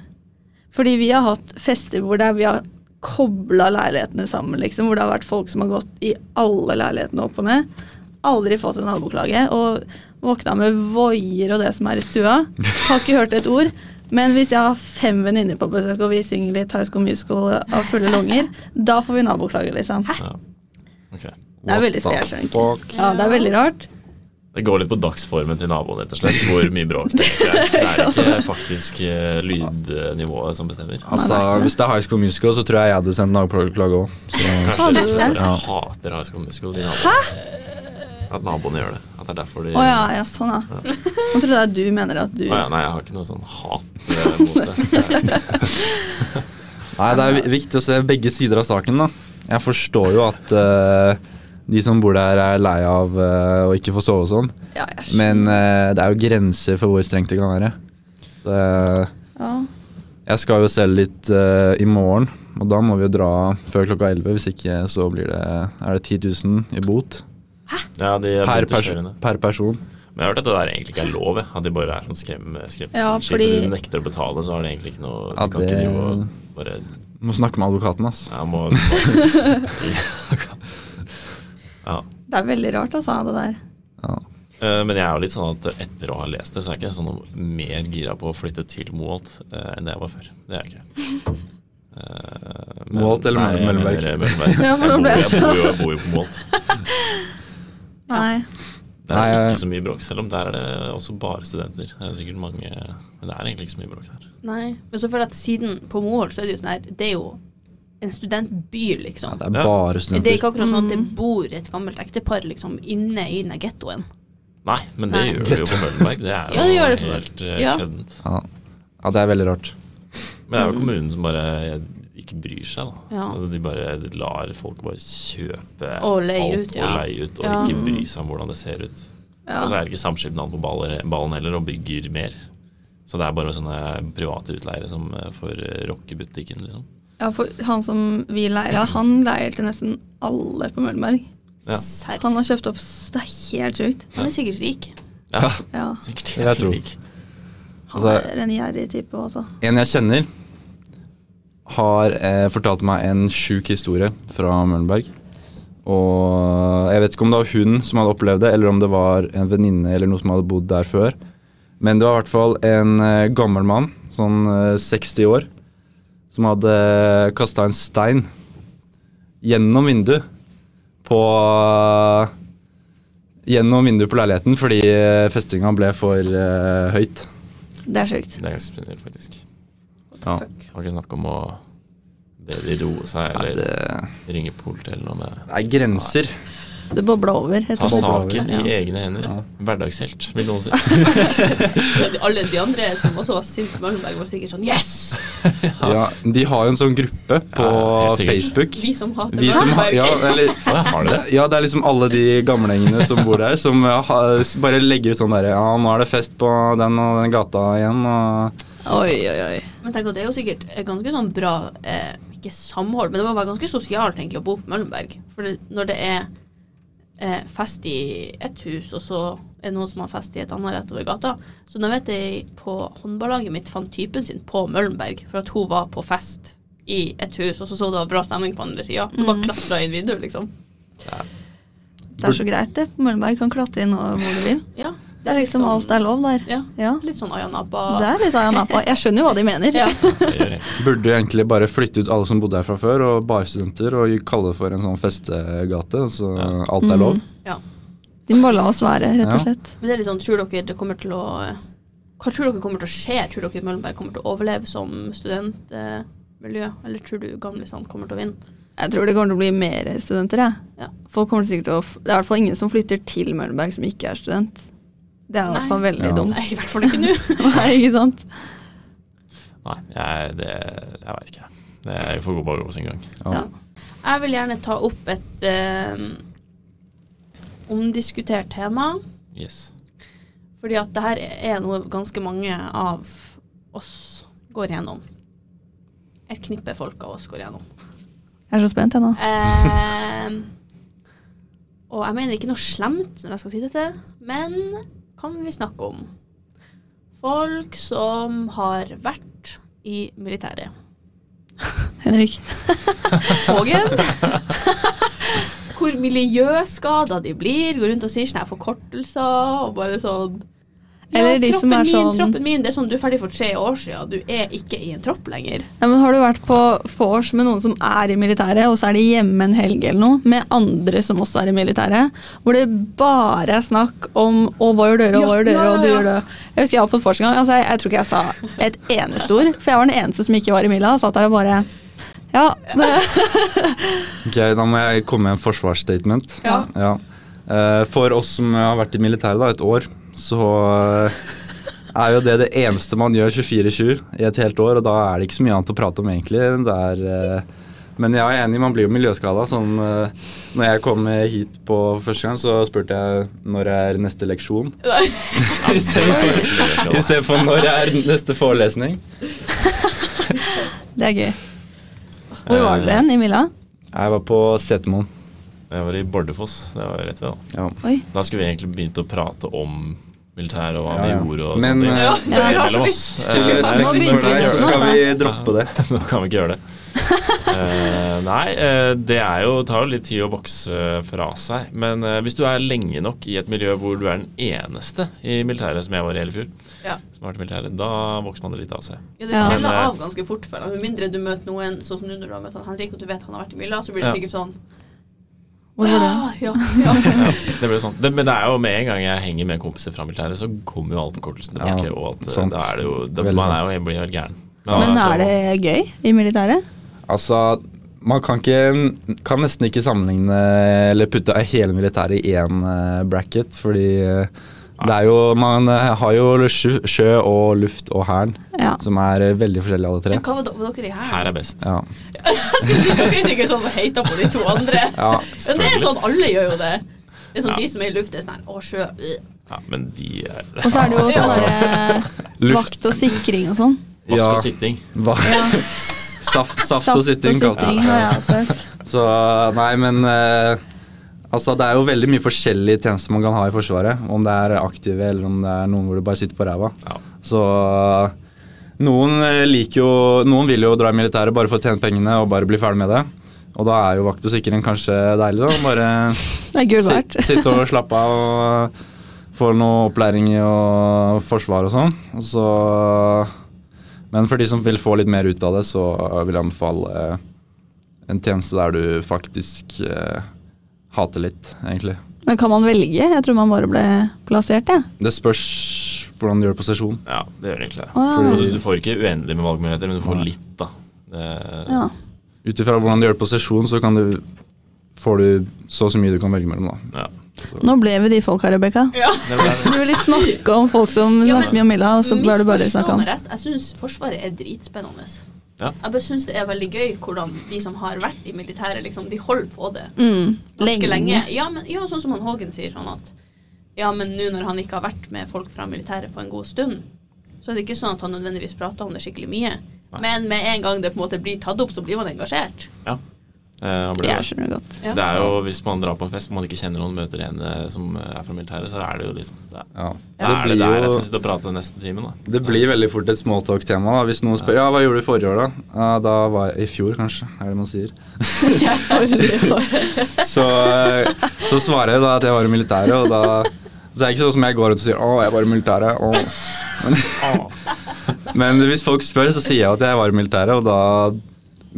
Speaker 4: Fordi vi har hatt fester hvor det er, vi har kobla leilighetene sammen, liksom. Hvor det har vært folk som har gått i alle leilighetene opp og ned. Aldri fått en naboklage. Og våkna med voier og det som er i stua. Har ikke hørt et ord. Men hvis jeg har fem venninner på besøk, og vi synger litt High School Musical av fulle lunger, da får vi naboklager, liksom.
Speaker 2: Ja. Ok.
Speaker 4: Det er veldig
Speaker 5: What the
Speaker 4: spesielt, egentlig.
Speaker 5: fuck?
Speaker 4: Ja, det er veldig rart.
Speaker 2: Det går litt på dagsformen til naboen, rett og slett. Hvor mye
Speaker 4: <laughs>
Speaker 2: bråk det egentlig er. Det er ikke faktisk eh, lydnivået som bestemmer.
Speaker 5: Altså, Hvis det er High School Musical, så tror jeg jeg hadde sendt naboklage òg.
Speaker 2: Kanskje det
Speaker 4: Hadde
Speaker 2: er
Speaker 4: du
Speaker 2: derfor
Speaker 4: det?
Speaker 2: jeg hater High School Musical. De naboene. At naboene gjør det. At det er derfor de
Speaker 4: Å ja, ja, sånn ja. Nå trodde jeg du mener at du
Speaker 2: Å ja, Nei, jeg har ikke noe sånn hat eh, mot det. Det
Speaker 4: <laughs>
Speaker 2: er-
Speaker 5: Nei, det er vi- viktig å se begge sider av saken, da. Jeg forstår jo at eh, de som bor der, er lei av eh, å ikke få sove og sånn,
Speaker 4: Ja, jeg skjønner.
Speaker 5: men eh, det er jo grenser for hvor strengt det kan være. Så, eh,
Speaker 4: ja.
Speaker 5: jeg skal jo selv litt eh, i morgen, og da må vi jo dra før klokka 11. Hvis ikke så blir det, er det 10 000 i bot
Speaker 2: Ja, de er
Speaker 5: per,
Speaker 2: blant
Speaker 5: pers
Speaker 2: kjørende.
Speaker 5: per person.
Speaker 2: Men jeg har hørt at det der egentlig ikke er lov. jeg. At de bare er sånn skrem, skremsel.
Speaker 4: Ja,
Speaker 2: Skilt,
Speaker 4: fordi-
Speaker 2: Du nekter å betale, så har det egentlig ikke noe
Speaker 5: Ja,
Speaker 2: Du kan ikke
Speaker 5: det-
Speaker 2: drive og bare
Speaker 5: Må snakke med advokaten, ass.
Speaker 2: Jeg
Speaker 4: <laughs>
Speaker 2: må Ja.
Speaker 4: Det er veldig rart, altså, det der.
Speaker 5: Ja.
Speaker 2: Eh, Men jeg er jo litt sånn at etter å ha lest det, så er jeg ikke sånn noe mer gira på å flytte til Moholt eh, enn det jeg var før. Det er jeg ikke. Eh, men-
Speaker 5: Moholt eller
Speaker 2: Nei, jeg
Speaker 5: Møllenberg?
Speaker 2: mener, eh,
Speaker 3: <laughs>
Speaker 2: Møllenberg.
Speaker 4: Ja, for nå
Speaker 2: Jeg
Speaker 4: ble
Speaker 2: bor-
Speaker 4: jeg
Speaker 2: jeg
Speaker 3: sånn.
Speaker 2: bor jo- Jeg bor jo på Moholt.
Speaker 4: Nei.
Speaker 2: Der er
Speaker 5: Nei,
Speaker 2: det
Speaker 5: jeg-
Speaker 2: ikke så mye bråk, selv om der er det også bare studenter. Det er sikkert mange, men det er egentlig ikke så mye bråk der.
Speaker 3: Nei. Men så føler jeg at siden på Moholt, så er det jo sånn her Det er jo en studentby,
Speaker 5: Ja,
Speaker 3: liksom.
Speaker 5: det er
Speaker 2: Ja.
Speaker 5: bare
Speaker 3: Det er
Speaker 5: studenter.
Speaker 3: ikke akkurat sånn at det bor et gammelt ektepar liksom inne i den gettoen.
Speaker 2: Nei, men det
Speaker 3: Nei.
Speaker 2: gjør det jo på Møllenberg. Det er jo
Speaker 3: Ja, det gjør det på-
Speaker 2: helt eh,
Speaker 3: ja.
Speaker 2: køddent.
Speaker 5: Ja. ja, det er veldig rart.
Speaker 2: Men det er jo kommunen som bare ikke bryr seg, da.
Speaker 3: Mm. Ja.
Speaker 2: Altså, de bare lar folk bare kjøpe
Speaker 3: Og leie
Speaker 2: alt
Speaker 3: ut, ja.
Speaker 2: og leie ut, og
Speaker 3: Ja. Mm.
Speaker 2: ikke bry seg om hvordan det ser ut. Og så er det ikke samskipnad på baller- ballen heller, og bygger mer. Så det er bare sånne private utleiere som eh, får eh, rocke butikken, liksom.
Speaker 4: Ja, for han som vi leier av, han leier til nesten alle på Møllenberg.
Speaker 2: Ja.
Speaker 3: Serr.
Speaker 4: Han har kjøpt opp s- Det er helt sjukt.
Speaker 3: Han er sikkert rik.
Speaker 2: Ja,
Speaker 4: Ja.
Speaker 2: sikkert.
Speaker 5: Jeg tror.
Speaker 4: Han
Speaker 5: Altså-
Speaker 4: er en gjerrig type, altså.
Speaker 5: En jeg kjenner, har eh, fortalt meg en sjuk historie fra Møllenberg. Og jeg vet ikke om det var hun som hadde opplevd det, eller om det var en venninne eller noe som hadde bodd der før. Men det var i hvert fall en eh, gammel mann, sånn eh, 60 år, som hadde kasta en stein gjennom vinduet på Gjennom vinduet på leiligheten fordi eh, festinga ble for eh, høyt.
Speaker 4: Det er sjukt.
Speaker 2: Det er ganske spesielt, faktisk.
Speaker 5: Ja.
Speaker 2: Det var ikke snakk om å be de roe seg,
Speaker 5: Nei,
Speaker 2: eller
Speaker 5: det
Speaker 2: ringe politiet eller noe. Det.
Speaker 5: Det er grenser.
Speaker 4: Det bobla over. rett
Speaker 2: Ta
Speaker 4: og slett.
Speaker 2: saken i
Speaker 4: Ja.
Speaker 2: egne hender.
Speaker 5: Ja.
Speaker 2: Hverdagshelt, vil <laughs> noen si.
Speaker 3: Alle de andre som også var sinte på Møllenberg, var sikkert sånn Yes!
Speaker 5: Ja, de har jo en sånn gruppe på
Speaker 2: Ja, helt sikkert.
Speaker 5: Facebook.
Speaker 3: Vi som hater
Speaker 5: Vi som har,
Speaker 3: Møllenberg.
Speaker 5: ja,
Speaker 2: <laughs>
Speaker 5: eller,
Speaker 2: Har de det?
Speaker 5: ja, det er liksom alle de gamlingene som bor der, som eh, ha- s- bare legger ut sånn derre Ja, nå er det fest på den og den gata igjen, og
Speaker 4: Oi, oi, oi.
Speaker 3: Men tenk at det er jo sikkert et ganske sånn bra eh, Ikke samhold, men det må være ganske sosialt egentlig å bo på Møllenberg. For det, når det er eh, fest i ett hus, og så er det noen som har fest i et annet rett over gata Så nå vet jeg på håndballaget mitt fant typen sin på Møllenberg for at hun var på fest i et hus, og så så det var bra stemning på andre sida. Så
Speaker 4: Mm.
Speaker 3: bare klatra inn vinduet, liksom.
Speaker 4: Det er så greit, det. På Møllenberg kan klatre inn og hvor du vil.
Speaker 3: Ja,
Speaker 4: Det er liksom alt er lov der.
Speaker 3: sånn- Ja.
Speaker 4: Ja.
Speaker 3: Litt sånn Aya Napa.
Speaker 4: Det er litt av en apa. Jeg skjønner jo hva de mener. <laughs>
Speaker 3: Ja.
Speaker 2: Det gjør jeg.
Speaker 5: Burde jo egentlig bare flytte ut alle som bodde her fra før, og bare studenter, og kalle det for en sånn festegate, så alt er lov.
Speaker 4: Mm.
Speaker 3: ja.
Speaker 4: De må bare la oss være, rett
Speaker 5: Ja.
Speaker 4: og slett.
Speaker 3: Men det er litt sånn, tror dere det kommer til å Hva tror dere kommer til å skje? Tror dere Møllenberg kommer til å overleve som studentby? miljø? Eller tror du Gamlesand kommer til å vinne?
Speaker 4: Jeg tror det kommer til å bli mer studenter. Jeg.
Speaker 3: Ja.
Speaker 4: Folk kommer sikkert til å, f- Det er i hvert fall ingen som flytter til Møllenberg som ikke er student. Det er i hvert fall
Speaker 3: Nei.
Speaker 4: veldig
Speaker 5: Ja.
Speaker 4: dumt.
Speaker 3: Nei, i hvert fall ikke nå.
Speaker 4: <laughs> Nei, ikke sant?
Speaker 2: Nei, jeg, det, jeg veit ikke. Det jeg får gå bare gå sin gang.
Speaker 5: Ja.
Speaker 3: Jeg vil gjerne ta opp et eh, omdiskutert tema.
Speaker 2: Yes.
Speaker 3: Fordi at det her er noe ganske mange av oss går gjennom. Et knippe folk av oss går gjennom.
Speaker 4: Jeg er så spent, jeg nå.
Speaker 3: Eh, og jeg mener ikke noe slemt når jeg skal si dette, men kan vi snakke om folk som har vært i militæret?
Speaker 4: Henrik.
Speaker 3: Hågen.
Speaker 4: <laughs>
Speaker 3: Hvor miljøskada de blir. Går rundt og sier sånne her forkortelser og bare sånn
Speaker 4: Eller de som er
Speaker 3: min,
Speaker 4: sånn-
Speaker 3: Troppen min, det er sånn du er ferdig for tre år siden, du er ikke i en tropp lenger.
Speaker 4: Ja, men har du vært på vors med noen som er i militæret, og så er de hjemme en helg eller noe, med andre som også er i militæret, hvor det bare er snakk om 'Å, hva gjør dere, og hva
Speaker 3: Ja,
Speaker 4: gjør dere,
Speaker 3: ja,
Speaker 4: og du
Speaker 3: ja,
Speaker 4: gjør det'. Jeg husker jeg var på et vors en gang, altså, jeg, jeg tror ikke jeg sa et eneste ord, for jeg var den eneste som ikke var i Mila, og satt der og bare Ja, det,
Speaker 5: Ok, Da må jeg komme med en forsvarsstatement.
Speaker 4: Ja.
Speaker 5: Ja. Eh, For oss som har vært i militæret da, et år, så eh, er jo det det eneste man gjør 24-7 i et helt år, og da er det ikke så mye annet å prate om egentlig. Det er, eh, men jeg er enig, man blir jo miljøskada. Sånn, eh, når jeg kom hit på første gang, så spurte jeg når er neste leksjon. <laughs> I stedet for- i stedet for når er neste forelesning.
Speaker 4: det er gøy. Hvor var dere hen i Mila?
Speaker 5: Jeg var på Setermoen.
Speaker 2: Jeg var i Bardufoss. Det var rett ved.
Speaker 5: Ja.
Speaker 4: Oi.
Speaker 2: Da. da skulle vi egentlig begynt å prate om militæret og hva
Speaker 5: Ja, ja.
Speaker 2: vi gjorde og sånne
Speaker 5: Men,
Speaker 2: ting.
Speaker 5: eh, Ja,
Speaker 2: Det er mellom oss.
Speaker 5: Til
Speaker 2: Eh,
Speaker 4: respekt
Speaker 5: respekten
Speaker 4: begynte
Speaker 5: for deg,
Speaker 4: vi
Speaker 5: så
Speaker 4: nesten,
Speaker 5: skal
Speaker 4: altså.
Speaker 5: vi droppe det.
Speaker 2: <laughs> Nå kan vi ikke gjøre det. Eh, nei, eh, det er jo, tar jo litt tid å vokse eh, fra seg. Men eh, hvis du er lenge nok i et miljø hvor du er den eneste i militæret, som jeg var i hele fjor,
Speaker 3: Ja.
Speaker 2: som har vært i militæret, da vokser man det litt av seg.
Speaker 3: Ja, det
Speaker 4: Ja.
Speaker 3: feller
Speaker 2: Men, eh,
Speaker 3: av ganske fort for deg. Med mindre du møter noen sånn som du når du har møtt han Henrik, og du vet han har vært i Mylla, så blir det
Speaker 2: Ja.
Speaker 3: sikkert sånn «Ah,
Speaker 4: Hvor var det?
Speaker 3: ja, ja, ja.
Speaker 2: Det blir jo sånn. det, men det er jo med en gang jeg henger med kompiser fra militæret, så kommer jo alt forkortelsen
Speaker 5: Ja,
Speaker 2: tilbake. og alt, eh,
Speaker 5: sant.
Speaker 2: da er det jo, da,
Speaker 5: Veldig
Speaker 2: man er jo, jeg blir jo helt gæren.
Speaker 4: Men
Speaker 2: altså,
Speaker 4: er det gøy i militæret?
Speaker 5: Altså, man kan, ikke, kan nesten ikke sammenligne eller putte hele militæret i én eh, bracket, fordi eh, det er jo, man eh, har jo sjø, sjø og luft og hæren,
Speaker 4: Ja.
Speaker 5: som er eh, veldig forskjellige alle tre.
Speaker 3: Men hva var, da- var dere i her?
Speaker 2: Her er best.
Speaker 5: Ja,
Speaker 3: <laughs> Dere er sikkert sånn som heita på de to andre.
Speaker 5: ja,
Speaker 3: Men det er sånn, alle gjør jo det. Det er sånn
Speaker 2: Ja.
Speaker 3: de som er i luft, det er sånn her, å, sjø. øh».
Speaker 2: Ja, men de er
Speaker 4: Og så er det jo sånn derre
Speaker 5: luft,
Speaker 4: vakt og sikring og sånn.
Speaker 2: Vask
Speaker 5: ja,
Speaker 2: og sitting.
Speaker 5: hva? <laughs> Saft, saft og sitting,
Speaker 4: Saft og
Speaker 5: kalte jeg
Speaker 4: sikring
Speaker 5: det.
Speaker 4: har jeg også hørt.
Speaker 5: Så nei, men eh, Altså, det er jo veldig mye forskjellige tjenester man kan ha i Forsvaret. Om det er aktive, eller om det er noen hvor du bare sitter på ræva.
Speaker 2: Ja.
Speaker 5: Så noen eh, liker jo Noen vil jo dra i militæret bare for å tjene pengene og bare bli ferdig med det. Og da er jo vakt og sikring kanskje deilig, da. Bare
Speaker 4: Det er gull verdt.
Speaker 5: sit, sitte og slappe av og få noe opplæring i å forsvar og sånn. Og så Men for de som vil få litt mer ut av det, så vil jeg anbefale eh, en tjeneste der du faktisk eh, hater litt, egentlig.
Speaker 4: Men kan man velge? Jeg tror man bare ble plassert, jeg.
Speaker 5: Det spørs hvordan du gjør det på sesjon.
Speaker 2: Ja, det gjør egentlig det.
Speaker 4: Å,
Speaker 2: Og
Speaker 4: ja.
Speaker 2: Du, du får ikke uendelig med valgmuligheter, men du får litt, da. Det,
Speaker 4: Ja.
Speaker 5: Ut ifra hvordan du gjør det på sesjon, så kan du, får du så og så mye du kan velge mellom. da.
Speaker 2: ja.
Speaker 4: Nå ble vi de folka, Rebekka.
Speaker 2: Det er-
Speaker 4: Du ville snakke om folk som
Speaker 3: Ja, men-
Speaker 4: snakket mye om Milla, og så ble du bare
Speaker 3: Misforstå
Speaker 4: snakke om
Speaker 3: meg rett, jeg syns Forsvaret er dritspennende.
Speaker 2: Ja.
Speaker 3: Jeg bare syns det er veldig gøy hvordan de som har vært i militæret, liksom, de holder på det
Speaker 4: mm,
Speaker 3: ganske lenge.
Speaker 4: lenge.
Speaker 3: Ja, men, ja, sånn som han Hågen sier, sånn at ja, men nå når han ikke har vært med folk fra militæret på en god stund, så er det ikke sånn at han nødvendigvis prater om det skikkelig mye.
Speaker 2: Nei.
Speaker 3: Men med en gang det på en måte blir tatt opp, så blir man engasjert.
Speaker 2: Eh, han ble-
Speaker 4: Jeg skjønner det godt.
Speaker 3: Ja.
Speaker 2: Det er jo, Hvis man drar på en fest og man ikke kjenner noen, møter en eh, som er fra militæret, så er det jo liksom Det,
Speaker 5: Ja.
Speaker 2: det er det
Speaker 5: blir
Speaker 2: der
Speaker 5: jo-
Speaker 2: jeg skal sitte og prate den neste timen, da.
Speaker 5: Det blir veldig fort et smalltalk-tema. da. Hvis noen spør ja, hva gjorde du forrige år, da? Ja, da var jeg I fjor, kanskje, er det man sier. <laughs> så, eh, så svarer jeg da at jeg var i militæret, og da Så er det ikke sånn som jeg går rundt og sier 'Å, jeg var i militæret'. Å.
Speaker 2: Ah.
Speaker 5: Men hvis folk spør, så sier jeg at jeg var i militæret, og da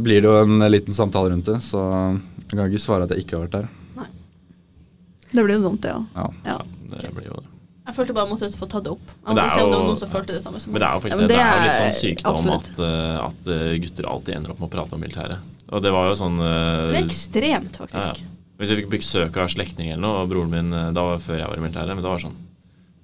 Speaker 5: blir det jo en liten samtale rundt det. Så jeg kan ikke svare at jeg ikke har vært der.
Speaker 4: Det blir jo dumt, det òg.
Speaker 5: Ja.
Speaker 2: Det blir jo det.
Speaker 3: Jeg følte bare jeg måtte få tatt det opp. Jeg
Speaker 2: Men det
Speaker 3: måtte
Speaker 2: er
Speaker 3: se om det var
Speaker 2: jo-
Speaker 3: noen som følte det samme som
Speaker 2: Men det er jo faktisk
Speaker 4: Ja, men
Speaker 2: det,
Speaker 4: det
Speaker 2: det er jo litt
Speaker 4: er-
Speaker 2: sånn sykdom at,
Speaker 4: absolutt.
Speaker 2: eh, at eh, gutter alltid ender opp med å prate om militæret. Og det var jo sånn eh,
Speaker 3: Det er ekstremt, faktisk.
Speaker 2: Ja, ja. Hvis jeg fikk besøk av slektninger eller noe, og broren min eh, da var før jeg var i militæret, men da var det sånn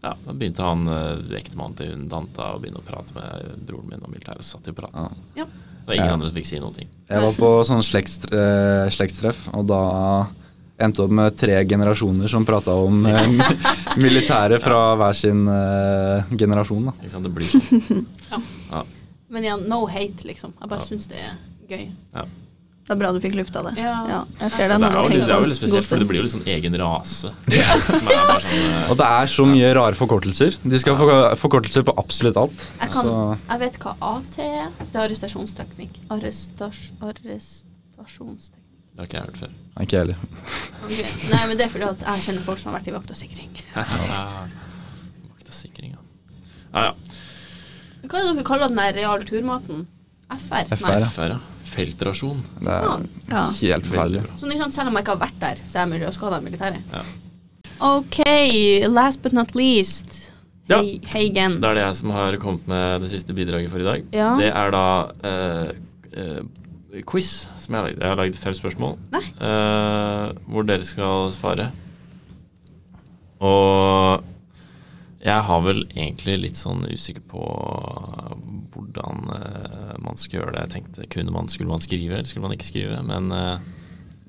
Speaker 2: ja, Da begynte han eh, ektemannen til hun tanta å begynne å prate med broren min om militæret. Så satt de og pratet.
Speaker 5: Ja.
Speaker 3: Ja.
Speaker 2: Det var ingen
Speaker 5: Ja.
Speaker 2: andre som fikk si noen ting.
Speaker 5: Jeg var på sånn slektstre- eh, slektstreff, og da endte opp med tre generasjoner som prata om eh, <laughs> militæret fra hver sin eh, generasjon. Da.
Speaker 2: Ikke sant? Det blir sånn.
Speaker 3: Men igjen, no hate, liksom. Jeg bare
Speaker 2: Ja.
Speaker 3: syns det er gøy.
Speaker 4: Det er bra du fikk lufta det.
Speaker 3: Ja.
Speaker 4: Ja, jeg ser
Speaker 2: Det
Speaker 4: det.
Speaker 2: er jo
Speaker 4: nå, jeg
Speaker 2: litt,
Speaker 4: tenker
Speaker 2: det er jo litt
Speaker 4: på en god
Speaker 2: spesielt, for
Speaker 4: stund.
Speaker 2: det blir jo litt sånn egen rase. <laughs> Som er bare sånn, eh,
Speaker 5: Og det er så mye rare forkortelser. De skal få forkortelser på absolutt alt.
Speaker 3: Jeg, kan,
Speaker 5: Så
Speaker 3: jeg vet hva AT er. Det er arrestasjonsteknikk. Arrestas, arrestasjonsteknikk.
Speaker 2: <laughs> det har ikke jeg hørt før.
Speaker 5: ikke jeg heller.
Speaker 3: Ok. Nei, men det er fordi at jeg kjenner folk som har vært i vakt og sikring.
Speaker 2: Vakt og sikring, ja. Ja, ja.
Speaker 3: Hva er det dere kaller den der realturmaten? FR?
Speaker 5: FR, ja.
Speaker 2: FR, ja. Feltrasjon.
Speaker 5: Det er
Speaker 4: Ja.
Speaker 2: Veldig
Speaker 5: helt forferdelig.
Speaker 2: bra.
Speaker 3: Sånn, ikke sant? Selv om jeg ikke har vært der, så er jeg miljøskada i militæret.
Speaker 2: Ja.
Speaker 3: OK, last but not least.
Speaker 2: Ja.
Speaker 3: Hei, Heigen.
Speaker 2: Det er det jeg som har kommet med det siste bidraget for i dag.
Speaker 3: Ja.
Speaker 2: Det er da eh, eh, quiz som jeg har lagd. Jeg har lagd fem spørsmål
Speaker 3: Nei.
Speaker 2: eh, hvor dere skal svare. Og jeg har vel egentlig litt sånn usikker på hvordan eh, man skal gjøre det. Jeg tenkte kunne man, skulle man skrive, eller skulle man ikke skrive? Men eh,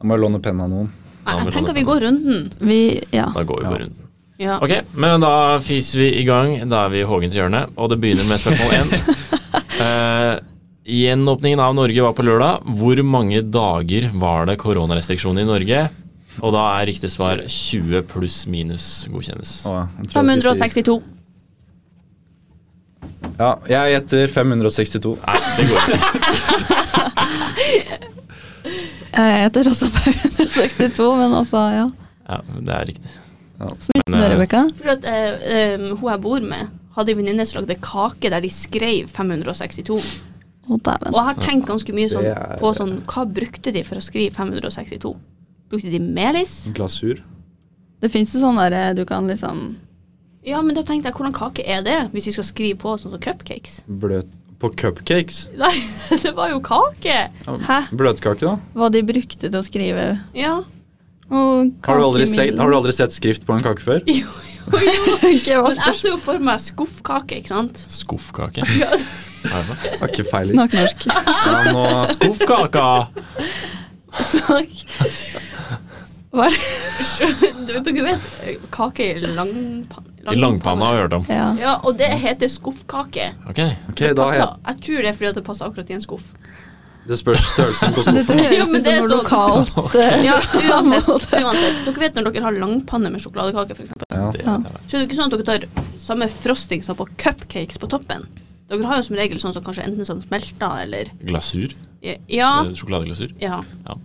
Speaker 5: Jeg må låne pennen av noen.
Speaker 3: Nei, jeg tenker vi går runden.
Speaker 4: Vi, ja.
Speaker 2: da går vi
Speaker 5: Ja.
Speaker 2: bare rundt.
Speaker 3: Ja.
Speaker 2: Ok, men da fiser vi i gang. Da er vi i Hågens hjørne, og det begynner med spørsmål én. Eh, gjenåpningen av Norge var på lørdag. Hvor mange dager var det koronarestriksjoner i Norge? Og da er riktig svar 20 pluss minus godkjennes.
Speaker 5: Å, jeg tror jeg skal si-
Speaker 3: 562.
Speaker 5: Ja, jeg gjetter 562.
Speaker 2: Nei, det går ikke.
Speaker 4: Jeg heter også 562, men altså, ja.
Speaker 2: Ja, det er riktig.
Speaker 4: Hvordan gikk det,
Speaker 2: Men, eh,
Speaker 4: Rebekka?
Speaker 3: For at eh, eh, hun jeg bor med, hadde en venninne som lagde kake der de skrev 562.
Speaker 4: Å,
Speaker 3: Og
Speaker 4: dæven.
Speaker 3: jeg har tenkt ganske mye sånn,
Speaker 5: Det er-
Speaker 3: på sånn Hva brukte de for å skrive 562? Brukte de melis?
Speaker 5: Glasur.
Speaker 4: Det fins jo sånn derre du kan liksom
Speaker 3: Ja, men da tenkte jeg, hvordan kake er det? Hvis vi skal skrive på sånn som cupcakes?
Speaker 5: Bløt På cupcakes?
Speaker 3: Nei, <laughs> det var jo kake!
Speaker 4: Hæ?
Speaker 5: Bløtkake, da?
Speaker 4: Hva de brukte til å skrive
Speaker 3: Ja.
Speaker 5: Har du, aldri sett, har du aldri sett skrift på en kake før?
Speaker 3: Jo, jo, jo. <laughs> Men sånn, jeg
Speaker 4: Snakk
Speaker 3: ser jo for meg skuffkake, ikke <laughs> sant?
Speaker 2: Skuffkake. Hva er det for noe?
Speaker 3: <laughs>
Speaker 5: Har ikke peiling.
Speaker 4: norsk.
Speaker 5: Ja, nå-
Speaker 2: Skuffkaka!
Speaker 4: <laughs> Snakk. Hva er det?
Speaker 3: Du, dere vet kake i langpan-
Speaker 2: I langpanna har vi hørt om.
Speaker 4: Ja.
Speaker 3: Ja, og det heter skuffkake.
Speaker 2: Ok.
Speaker 5: Ok, da
Speaker 3: Passer-
Speaker 5: het
Speaker 3: jeg tror det er fordi at det passer akkurat i en skuff.
Speaker 5: Det spørs
Speaker 3: <laughs>
Speaker 5: størrelsen på
Speaker 4: Dette
Speaker 5: skuffen.
Speaker 3: Ja,
Speaker 4: høres
Speaker 3: men
Speaker 4: ut
Speaker 3: det er
Speaker 4: som noe
Speaker 3: sånn-
Speaker 4: lokalt. eh,
Speaker 3: <laughs> Ja, uansett.
Speaker 4: måte.
Speaker 3: uansett. Dere vet når dere har langpanne med sjokoladekake, f.eks.
Speaker 5: Ja.
Speaker 2: Det,
Speaker 4: Ja.
Speaker 2: det er det.
Speaker 3: Så er det ikke sånn at dere tar samme frosting som på cupcakes på toppen. Dere har jo som regel sånn som kanskje enten som smelter eller
Speaker 2: Glasur?
Speaker 3: Ja.
Speaker 2: Eh, Sjokoladeglasur?
Speaker 3: ja.
Speaker 2: Ja.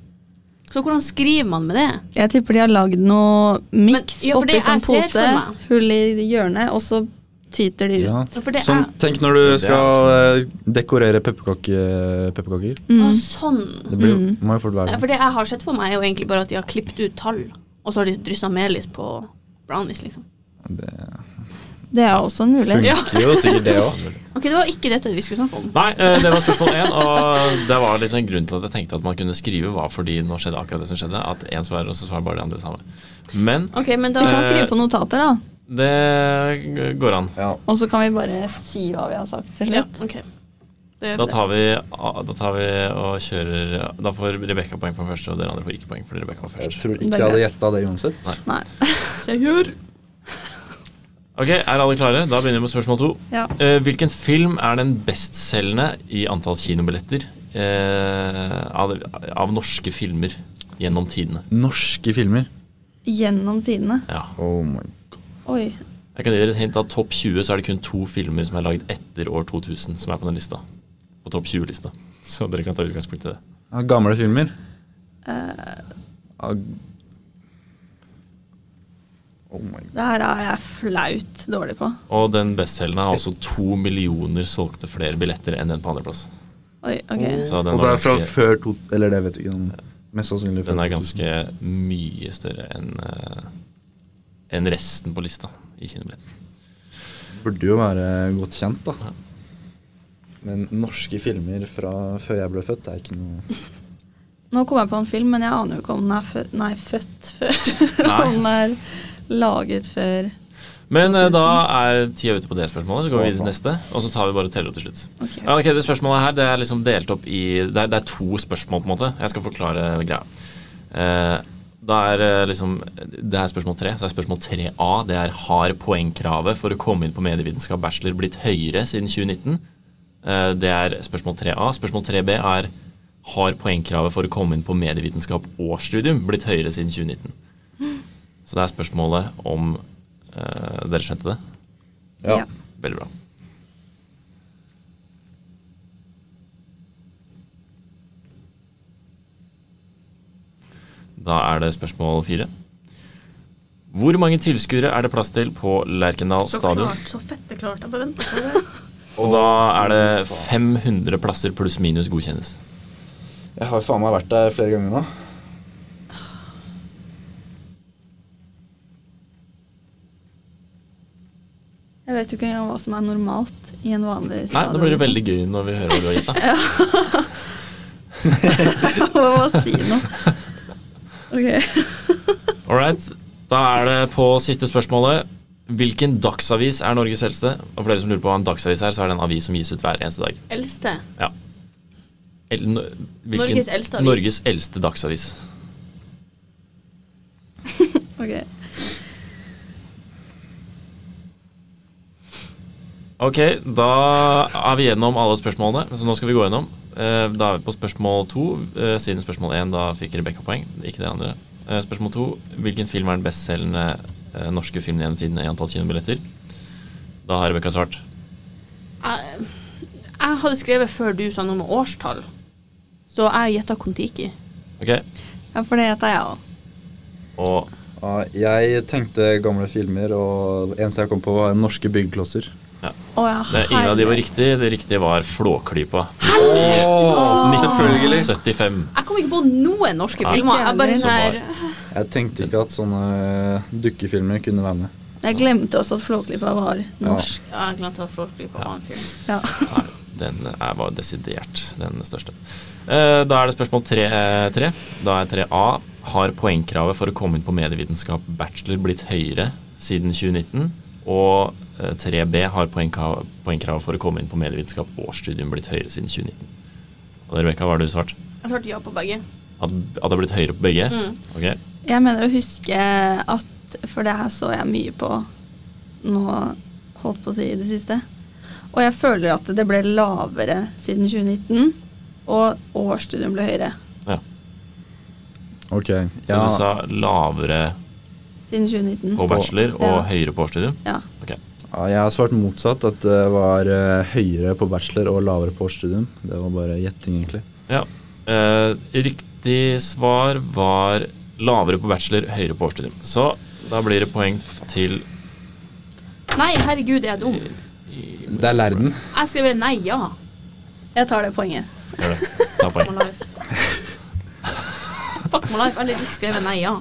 Speaker 3: Så hvordan skriver man med det?
Speaker 4: Jeg tipper de har lagd noe miks
Speaker 3: Men- ja, for
Speaker 4: oppi
Speaker 3: det
Speaker 4: sånn
Speaker 3: jeg ser for
Speaker 4: pose,
Speaker 3: meg.
Speaker 4: hull i hjørnet, og så tyter de ut.
Speaker 5: Ja.
Speaker 3: For det
Speaker 5: Som,
Speaker 3: er
Speaker 5: tenk når du skal eh, dekorere pepperkake- pepperkaker.
Speaker 3: Å,
Speaker 4: Mm.
Speaker 3: sånn.
Speaker 5: Det blir, jo-
Speaker 4: Mm.
Speaker 5: må jo fort
Speaker 3: Nei,
Speaker 5: være sånn.
Speaker 3: for det jeg har sett for meg, er jo egentlig bare at de har klippet ut tall, og så har de dryssa melis på brownies, liksom.
Speaker 5: Det
Speaker 4: Det er også en mulighet.
Speaker 5: funker jo sikkert, det
Speaker 3: <laughs>
Speaker 5: òg.
Speaker 3: Ok, det var ikke dette vi skulle snakke om.
Speaker 2: Nei, eh, det var spørsmål én. Og det var litt en grunn til at jeg tenkte at man kunne skrive var fordi nå skjedde akkurat det som skjedde. At én svarer, og så svarer bare de andre samme. Men
Speaker 3: Ok, men da
Speaker 4: Vi
Speaker 2: Eh,
Speaker 4: kan skrive på notater, da.
Speaker 2: det går an.
Speaker 5: Ja.
Speaker 4: Og så kan vi bare si hva vi har sagt til
Speaker 3: Ja,
Speaker 4: slutt.
Speaker 3: ok. Det gjør vi
Speaker 2: Da
Speaker 3: det.
Speaker 2: tar vi, ah, da tar vi og kjører Da får Rebekka poeng for den første, og dere andre får ikke poeng fordi Rebekka var
Speaker 5: Jeg
Speaker 2: først.
Speaker 5: tror
Speaker 4: Det
Speaker 5: ikke
Speaker 4: er
Speaker 5: jeg hadde
Speaker 4: greit.
Speaker 5: gjetta det uansett.
Speaker 4: Nei. <laughs>
Speaker 2: Ok, Er alle klare? Da begynner vi med spørsmål to.
Speaker 4: Ja.
Speaker 2: Eh, Hvilken film er den bestselgende i antall kinobilletter eh, av, av norske filmer gjennom tidene?
Speaker 5: Norske filmer.
Speaker 4: Gjennom tidene.
Speaker 2: Ja.
Speaker 5: Oh my
Speaker 4: Oi.
Speaker 2: Jeg kan gi dere et hint av topp 20 så er det kun to filmer som er lagd etter år 2000 som er på den lista. På topp 20-lista. Så dere kan ta utgangspunkt i det.
Speaker 5: Ja, Gamle filmer.
Speaker 3: Eh.
Speaker 5: Ja, Oh my
Speaker 4: Det her er jeg flaut dårlig på.
Speaker 2: Og den bestselgende har altså to millioner solgte flere billetter enn den på andreplass.
Speaker 4: Oi, ok.
Speaker 2: Så den,
Speaker 5: Og det
Speaker 2: var
Speaker 5: er fra
Speaker 2: ganske,
Speaker 5: før to... Eller det vet vi ikke. men Mest sannsynlig før
Speaker 2: den er
Speaker 5: 2000.
Speaker 2: ganske mye større enn eh, enn resten på lista. i kinobilletten.
Speaker 5: Burde jo være godt kjent, da. Men norske filmer fra før jeg ble født, det er ikke noe
Speaker 4: Nå kom jeg på en film, men jeg aner jo ikke om den er født, nei, født før. <laughs> Eller om den er laget før.
Speaker 2: Men eh, da er tida ute på det spørsmålet, så går vi
Speaker 5: Å,
Speaker 2: videre til neste. Og så tar vi bare og teller opp til slutt.
Speaker 4: Ok.
Speaker 2: Ja, ok, Det spørsmålet her det er liksom delt opp i det er, det er to spørsmål, på en måte. Jeg skal forklare greia. Eh, da er eh, liksom Det er spørsmål tre. Så er spørsmål 3A. Det er har poengkravet for å komme inn på medievitenskap bachelor blitt høyere siden 2019? Eh, det er spørsmål 3A. Spørsmål 3B er har poengkravet for å komme inn på medievitenskap årsstudium blitt høyere siden 2019? Så det er spørsmålet om eh, Dere skjønte det?
Speaker 5: Ja.
Speaker 4: Ja.
Speaker 2: Veldig bra. Da er det spørsmål fire. Hvor mange tilskuere er det plass til på Lerkendal
Speaker 3: Så
Speaker 2: stadion?
Speaker 3: klart, så fette klart. Jeg bare venter på det.
Speaker 2: Og da er det 500 plasser pluss minus godkjennes.
Speaker 5: Jeg har jo faen meg vært der flere ganger nå.
Speaker 4: Jeg vet jo ikke engang hva som er normalt i en vanlig
Speaker 2: Nei,
Speaker 4: stadion.
Speaker 2: nå blir det veldig gøy når vi hører hva du har gitt, da.
Speaker 4: Jeg <laughs> må bare si
Speaker 2: <laughs>
Speaker 4: noe. Ok.
Speaker 2: Alright, da er det på siste spørsmålet. Hvilken dagsavis er Norges eldste? Og for dere som lurer på hva en dagsavis er, så er det en avis som gis ut hver eneste dag.
Speaker 3: Eldste.
Speaker 2: El, no, hvilken,
Speaker 3: Norges eldste avis.
Speaker 2: Norges eldste dagsavis.
Speaker 4: ok.
Speaker 2: Ok, da er vi gjennom alle spørsmålene, så nå skal vi gå gjennom. Eh, Da er vi på spørsmål to, eh, siden spørsmål én da fikk Rebekka poeng, ikke det andre. Eh, Spørsmål to, hvilken film er den bestselgende eh, norske filmen gjennom tiden i antall kinobilletter? Da har Rebekka svart.
Speaker 3: Jeg, jeg hadde skrevet før du sa noe med årstall, så jeg gjetta Kon-Tiki.
Speaker 2: Ok,
Speaker 4: Ja, for det heter jeg òg.
Speaker 2: og
Speaker 5: Ja, jeg tenkte gamle filmer, og det eneste jeg kom på, var norske byggeklosser.
Speaker 4: Å ja,
Speaker 2: det, ingen av de var
Speaker 4: herregud.
Speaker 2: riktig. Det riktige var Flåklypa.
Speaker 5: Oh, selvfølgelig!
Speaker 2: 1975.
Speaker 3: Jeg kom ikke på noen norske
Speaker 2: Nei.
Speaker 3: filmer. Jeg bare
Speaker 4: Ikke
Speaker 3: sånn
Speaker 2: heller.
Speaker 3: her
Speaker 5: Jeg tenkte ikke at sånne eh, dukkefilmer kunne være med.
Speaker 4: Jeg glemte også at Flåklypa var norsk.
Speaker 3: Ja, jeg glemte å forklare på annen film.
Speaker 4: Ja.
Speaker 2: Nei, den er, var desidert den største. Eh, da er det spørsmål 3. Da er 3A. Har poengkravet for å komme inn på medievitenskap bachelor blitt høyere siden 2019? Og eh, 3B har poengka- poengkravet for å komme inn på medievitenskap årsstudium blitt høyere siden 2019. Og Rebekka, hva har du svart?
Speaker 3: Jeg svarte ja på begge.
Speaker 2: At, at det har blitt høyere på begge?
Speaker 3: Mm.
Speaker 2: Ok.
Speaker 4: Jeg mener å huske at For det her så jeg mye på nå, holdt på å si, i det siste. Og jeg føler at det ble lavere siden 2019, og årsstudien ble høyere
Speaker 5: Ok,
Speaker 2: Så
Speaker 5: ja,
Speaker 2: du sa lavere
Speaker 4: siden 2019.
Speaker 2: på bachelor og
Speaker 4: Ja.
Speaker 2: høyere på årsstudium?
Speaker 4: Ja.
Speaker 2: Ok.
Speaker 5: ja, jeg har svart motsatt, at det var eh, høyere på bachelor og lavere på årsstudium. Det var bare gjetting, egentlig.
Speaker 2: Ja. Eh, riktig svar var lavere på bachelor, høyere på årsstudium. Så da blir det poeng til
Speaker 3: Nei, herregud, er jeg
Speaker 2: Eh.
Speaker 3: dum?
Speaker 5: Det er lærden.
Speaker 3: Jeg skrev nei, ja.
Speaker 4: Jeg tar det poenget.
Speaker 2: Gjør det. Ta
Speaker 3: Fuck
Speaker 2: poeng.
Speaker 3: my life. Fuck my life. Jeg har legit skrevet nei, ja.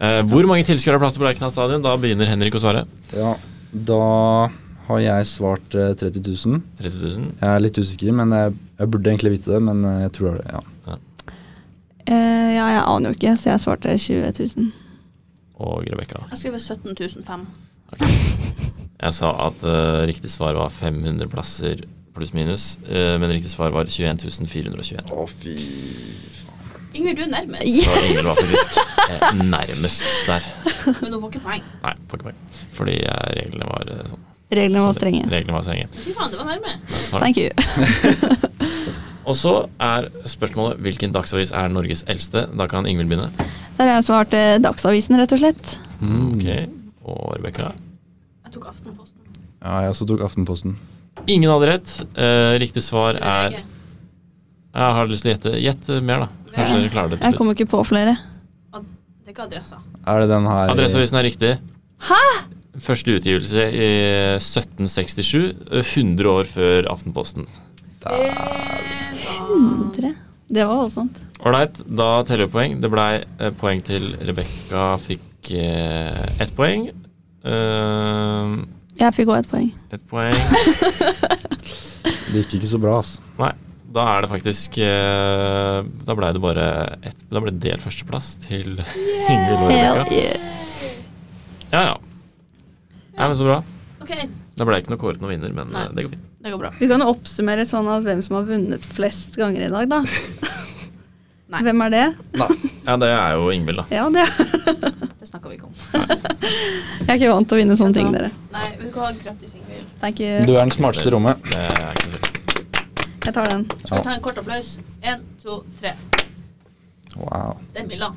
Speaker 2: Eh, hvor mange tilskuere er plass til på Lerkendal stadion? Da begynner Henrik å svare.
Speaker 5: Ja, da har jeg svart eh, 30 000.
Speaker 2: 30 000.
Speaker 5: Jeg er litt usikker, men jeg, jeg burde egentlig vite det, men eh, jeg tror det er det, ja.
Speaker 4: Eh, ja, jeg aner jo ikke, så jeg svarte 20 000.
Speaker 2: Og Rebekka.
Speaker 3: Jeg skrev 17 500.
Speaker 2: Jeg sa at eh, riktig svar var 500 plasser pluss minus, eh, men riktig svar var 21 421.
Speaker 5: Å, fy
Speaker 3: Ingvild, du er nærmest,
Speaker 2: Så Ingrid var faktisk eh, nærmest der.
Speaker 3: men hun får ikke poeng.
Speaker 2: Nei, får ikke poeng. Fordi eh, reglene var eh, sånn.
Speaker 4: Reglene var strenge.
Speaker 2: Reglene var strenge.
Speaker 3: Fy faen, det var nærme.
Speaker 4: Thank you.
Speaker 2: Og så er spørsmålet hvilken dagsavis er Norges eldste? Da kan Ingvild begynne. Mm,
Speaker 4: Der har jeg svart eh, Dagsavisen, rett og slett.
Speaker 2: Ok, Og Rebekka?
Speaker 3: Jeg tok Aftenposten.
Speaker 5: Ja, jeg også tok Aftenposten.
Speaker 2: Ingen hadde rett. Eh, riktig svar er
Speaker 3: VG.
Speaker 2: Jeg har lyst til å gjette. Gjett eh, mer, da. Kanskje dere klarer det
Speaker 4: Jeg
Speaker 2: til slutt.
Speaker 4: kommer ikke på flere.
Speaker 3: Det er ikke adressa.
Speaker 5: Er det den her i-
Speaker 2: Adresseavisen er riktig. Første utgivelse i 1767, eh, 100 år før Aftenposten.
Speaker 4: Tre. Det var voldsomt.
Speaker 2: Ålreit, da teller vi poeng. Det blei eh, poeng til Rebekka fikk fikk eh, ett poeng. Eh,
Speaker 4: Jeg fikk òg et poeng.
Speaker 2: ett poeng.
Speaker 5: Det gikk ikke så bra, altså.
Speaker 2: Da er det faktisk eh, Da ble det bare ett Da ble det delt førsteplass til <laughs> Ingvild og
Speaker 4: Hell
Speaker 2: Rebekka.
Speaker 4: yeah.
Speaker 2: Ja, ja. Nei, men så bra.
Speaker 3: OK,
Speaker 2: Da ble det ikke noe kåret noen vinner, men
Speaker 3: Nei.
Speaker 2: eh, det går fint.
Speaker 3: det går bra.
Speaker 4: Vi kan jo oppsummere sånn at hvem som har vunnet flest ganger i dag, da.
Speaker 3: Nei.
Speaker 4: Hvem er det?
Speaker 2: Ja, det er jo Ingvild, da.
Speaker 4: <laughs> Ja, det
Speaker 3: Det snakka vi ikke om.
Speaker 4: <laughs> Jeg er ikke vant til å vinne sånne ting, dere.
Speaker 3: Nei, vet du hva, grattis, Ingvild.
Speaker 4: Thank
Speaker 5: Du
Speaker 4: you.
Speaker 5: er den smarteste i rommet.
Speaker 2: Det er ikke noe tvil.
Speaker 4: Jeg tar den.
Speaker 3: Skal vi ta en kort applaus? Én, to, tre.
Speaker 5: Wow.
Speaker 3: Det er Milla.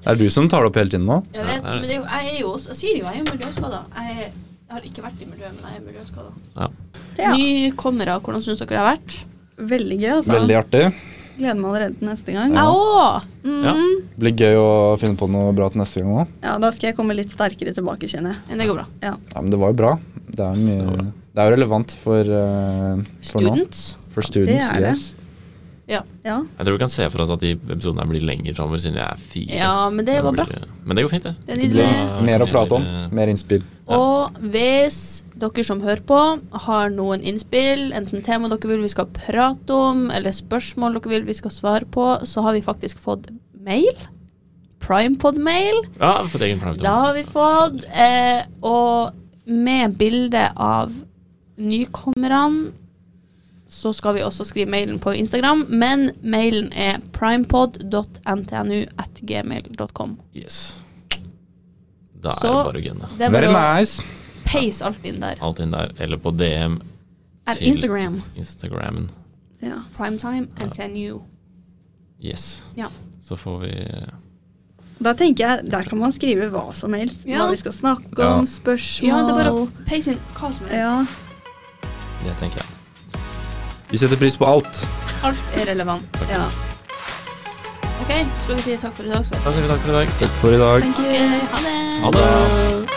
Speaker 5: Det er du som tar det opp hele tiden nå?
Speaker 3: Jeg
Speaker 2: Ja,
Speaker 3: vet,
Speaker 2: det er det.
Speaker 3: men det er jo, jeg er jo også Jeg sier jo, jeg er jo miljøskada. Jeg, er- jeg har ikke vært i miljøet, men jeg er miljøskada.
Speaker 2: Ja.
Speaker 4: Ja.
Speaker 3: Nykommere, hvordan syns dere det har vært?
Speaker 4: Veldig gøy, altså.
Speaker 5: Veldig artig.
Speaker 4: Gleder meg allerede til neste gang. Mm.
Speaker 5: Ja.
Speaker 3: Jeg òg!
Speaker 2: Ja.
Speaker 5: Det blir gøy å finne på noe bra til neste gang òg.
Speaker 4: Ja, da skal jeg komme litt sterkere tilbake, kjenner jeg.
Speaker 3: Men det går bra.
Speaker 5: Ja, men det var jo bra. Det er,
Speaker 2: Det var
Speaker 5: mye,
Speaker 2: bra.
Speaker 5: det er jo relevant for, eh, for nå.
Speaker 3: Students.
Speaker 5: For students,
Speaker 4: Det er det.
Speaker 5: yes.
Speaker 4: Ja.
Speaker 2: Jeg tror vi kan se for oss at de episodene her blir lenger framover, siden vi er fire.
Speaker 3: Ja, men det var bra.
Speaker 2: blir- Men det går fint, det.
Speaker 3: Det er
Speaker 5: Det
Speaker 3: nydelig.
Speaker 5: blir mer å prate om, mer innspill.
Speaker 2: Ja.
Speaker 3: Og hvis dere som hører på, har noen innspill, enten tema dere vil vi skal prate om, eller spørsmål dere vil vi skal svare på, så har vi faktisk fått mail. Primepod-mail.
Speaker 2: Ja, vi har fått egen
Speaker 3: Det
Speaker 2: plankton.
Speaker 3: har vi fått. Eh, og med bilde av nykommerne så skal vi også skrive mailen på Instagram, men mailen er primepod.ntnu.gmail.com.
Speaker 2: Yes. Da er
Speaker 3: Så-
Speaker 2: det bare å gunne.
Speaker 3: Det er
Speaker 5: Very
Speaker 3: bare å
Speaker 5: nice.
Speaker 3: peise alt inn der.
Speaker 2: Alt inn der, eller på DM,
Speaker 3: Er
Speaker 2: til-
Speaker 3: Instagram.
Speaker 2: Instagrammen.
Speaker 4: ja.
Speaker 3: Primetime, NTNU.
Speaker 2: Yes.
Speaker 3: Ja.
Speaker 2: Så får vi eh,
Speaker 4: Da tenker jeg, der kan man skrive hva som helst.
Speaker 3: Ja.
Speaker 4: Hva vi skal snakke
Speaker 5: Ja.
Speaker 4: om, spørsmål.
Speaker 3: Ja, det er bare å peise inn hva som helst.
Speaker 4: Ja.
Speaker 2: Det tenker jeg.
Speaker 5: Vi setter pris på alt.
Speaker 3: Alt er relevant.
Speaker 4: ja.
Speaker 3: OK, skal vi si takk for i dag, skal vi?
Speaker 2: Da sier vi takk for i dag.
Speaker 5: Takk for i dag.
Speaker 3: Ok, Ha det.
Speaker 2: Ha det.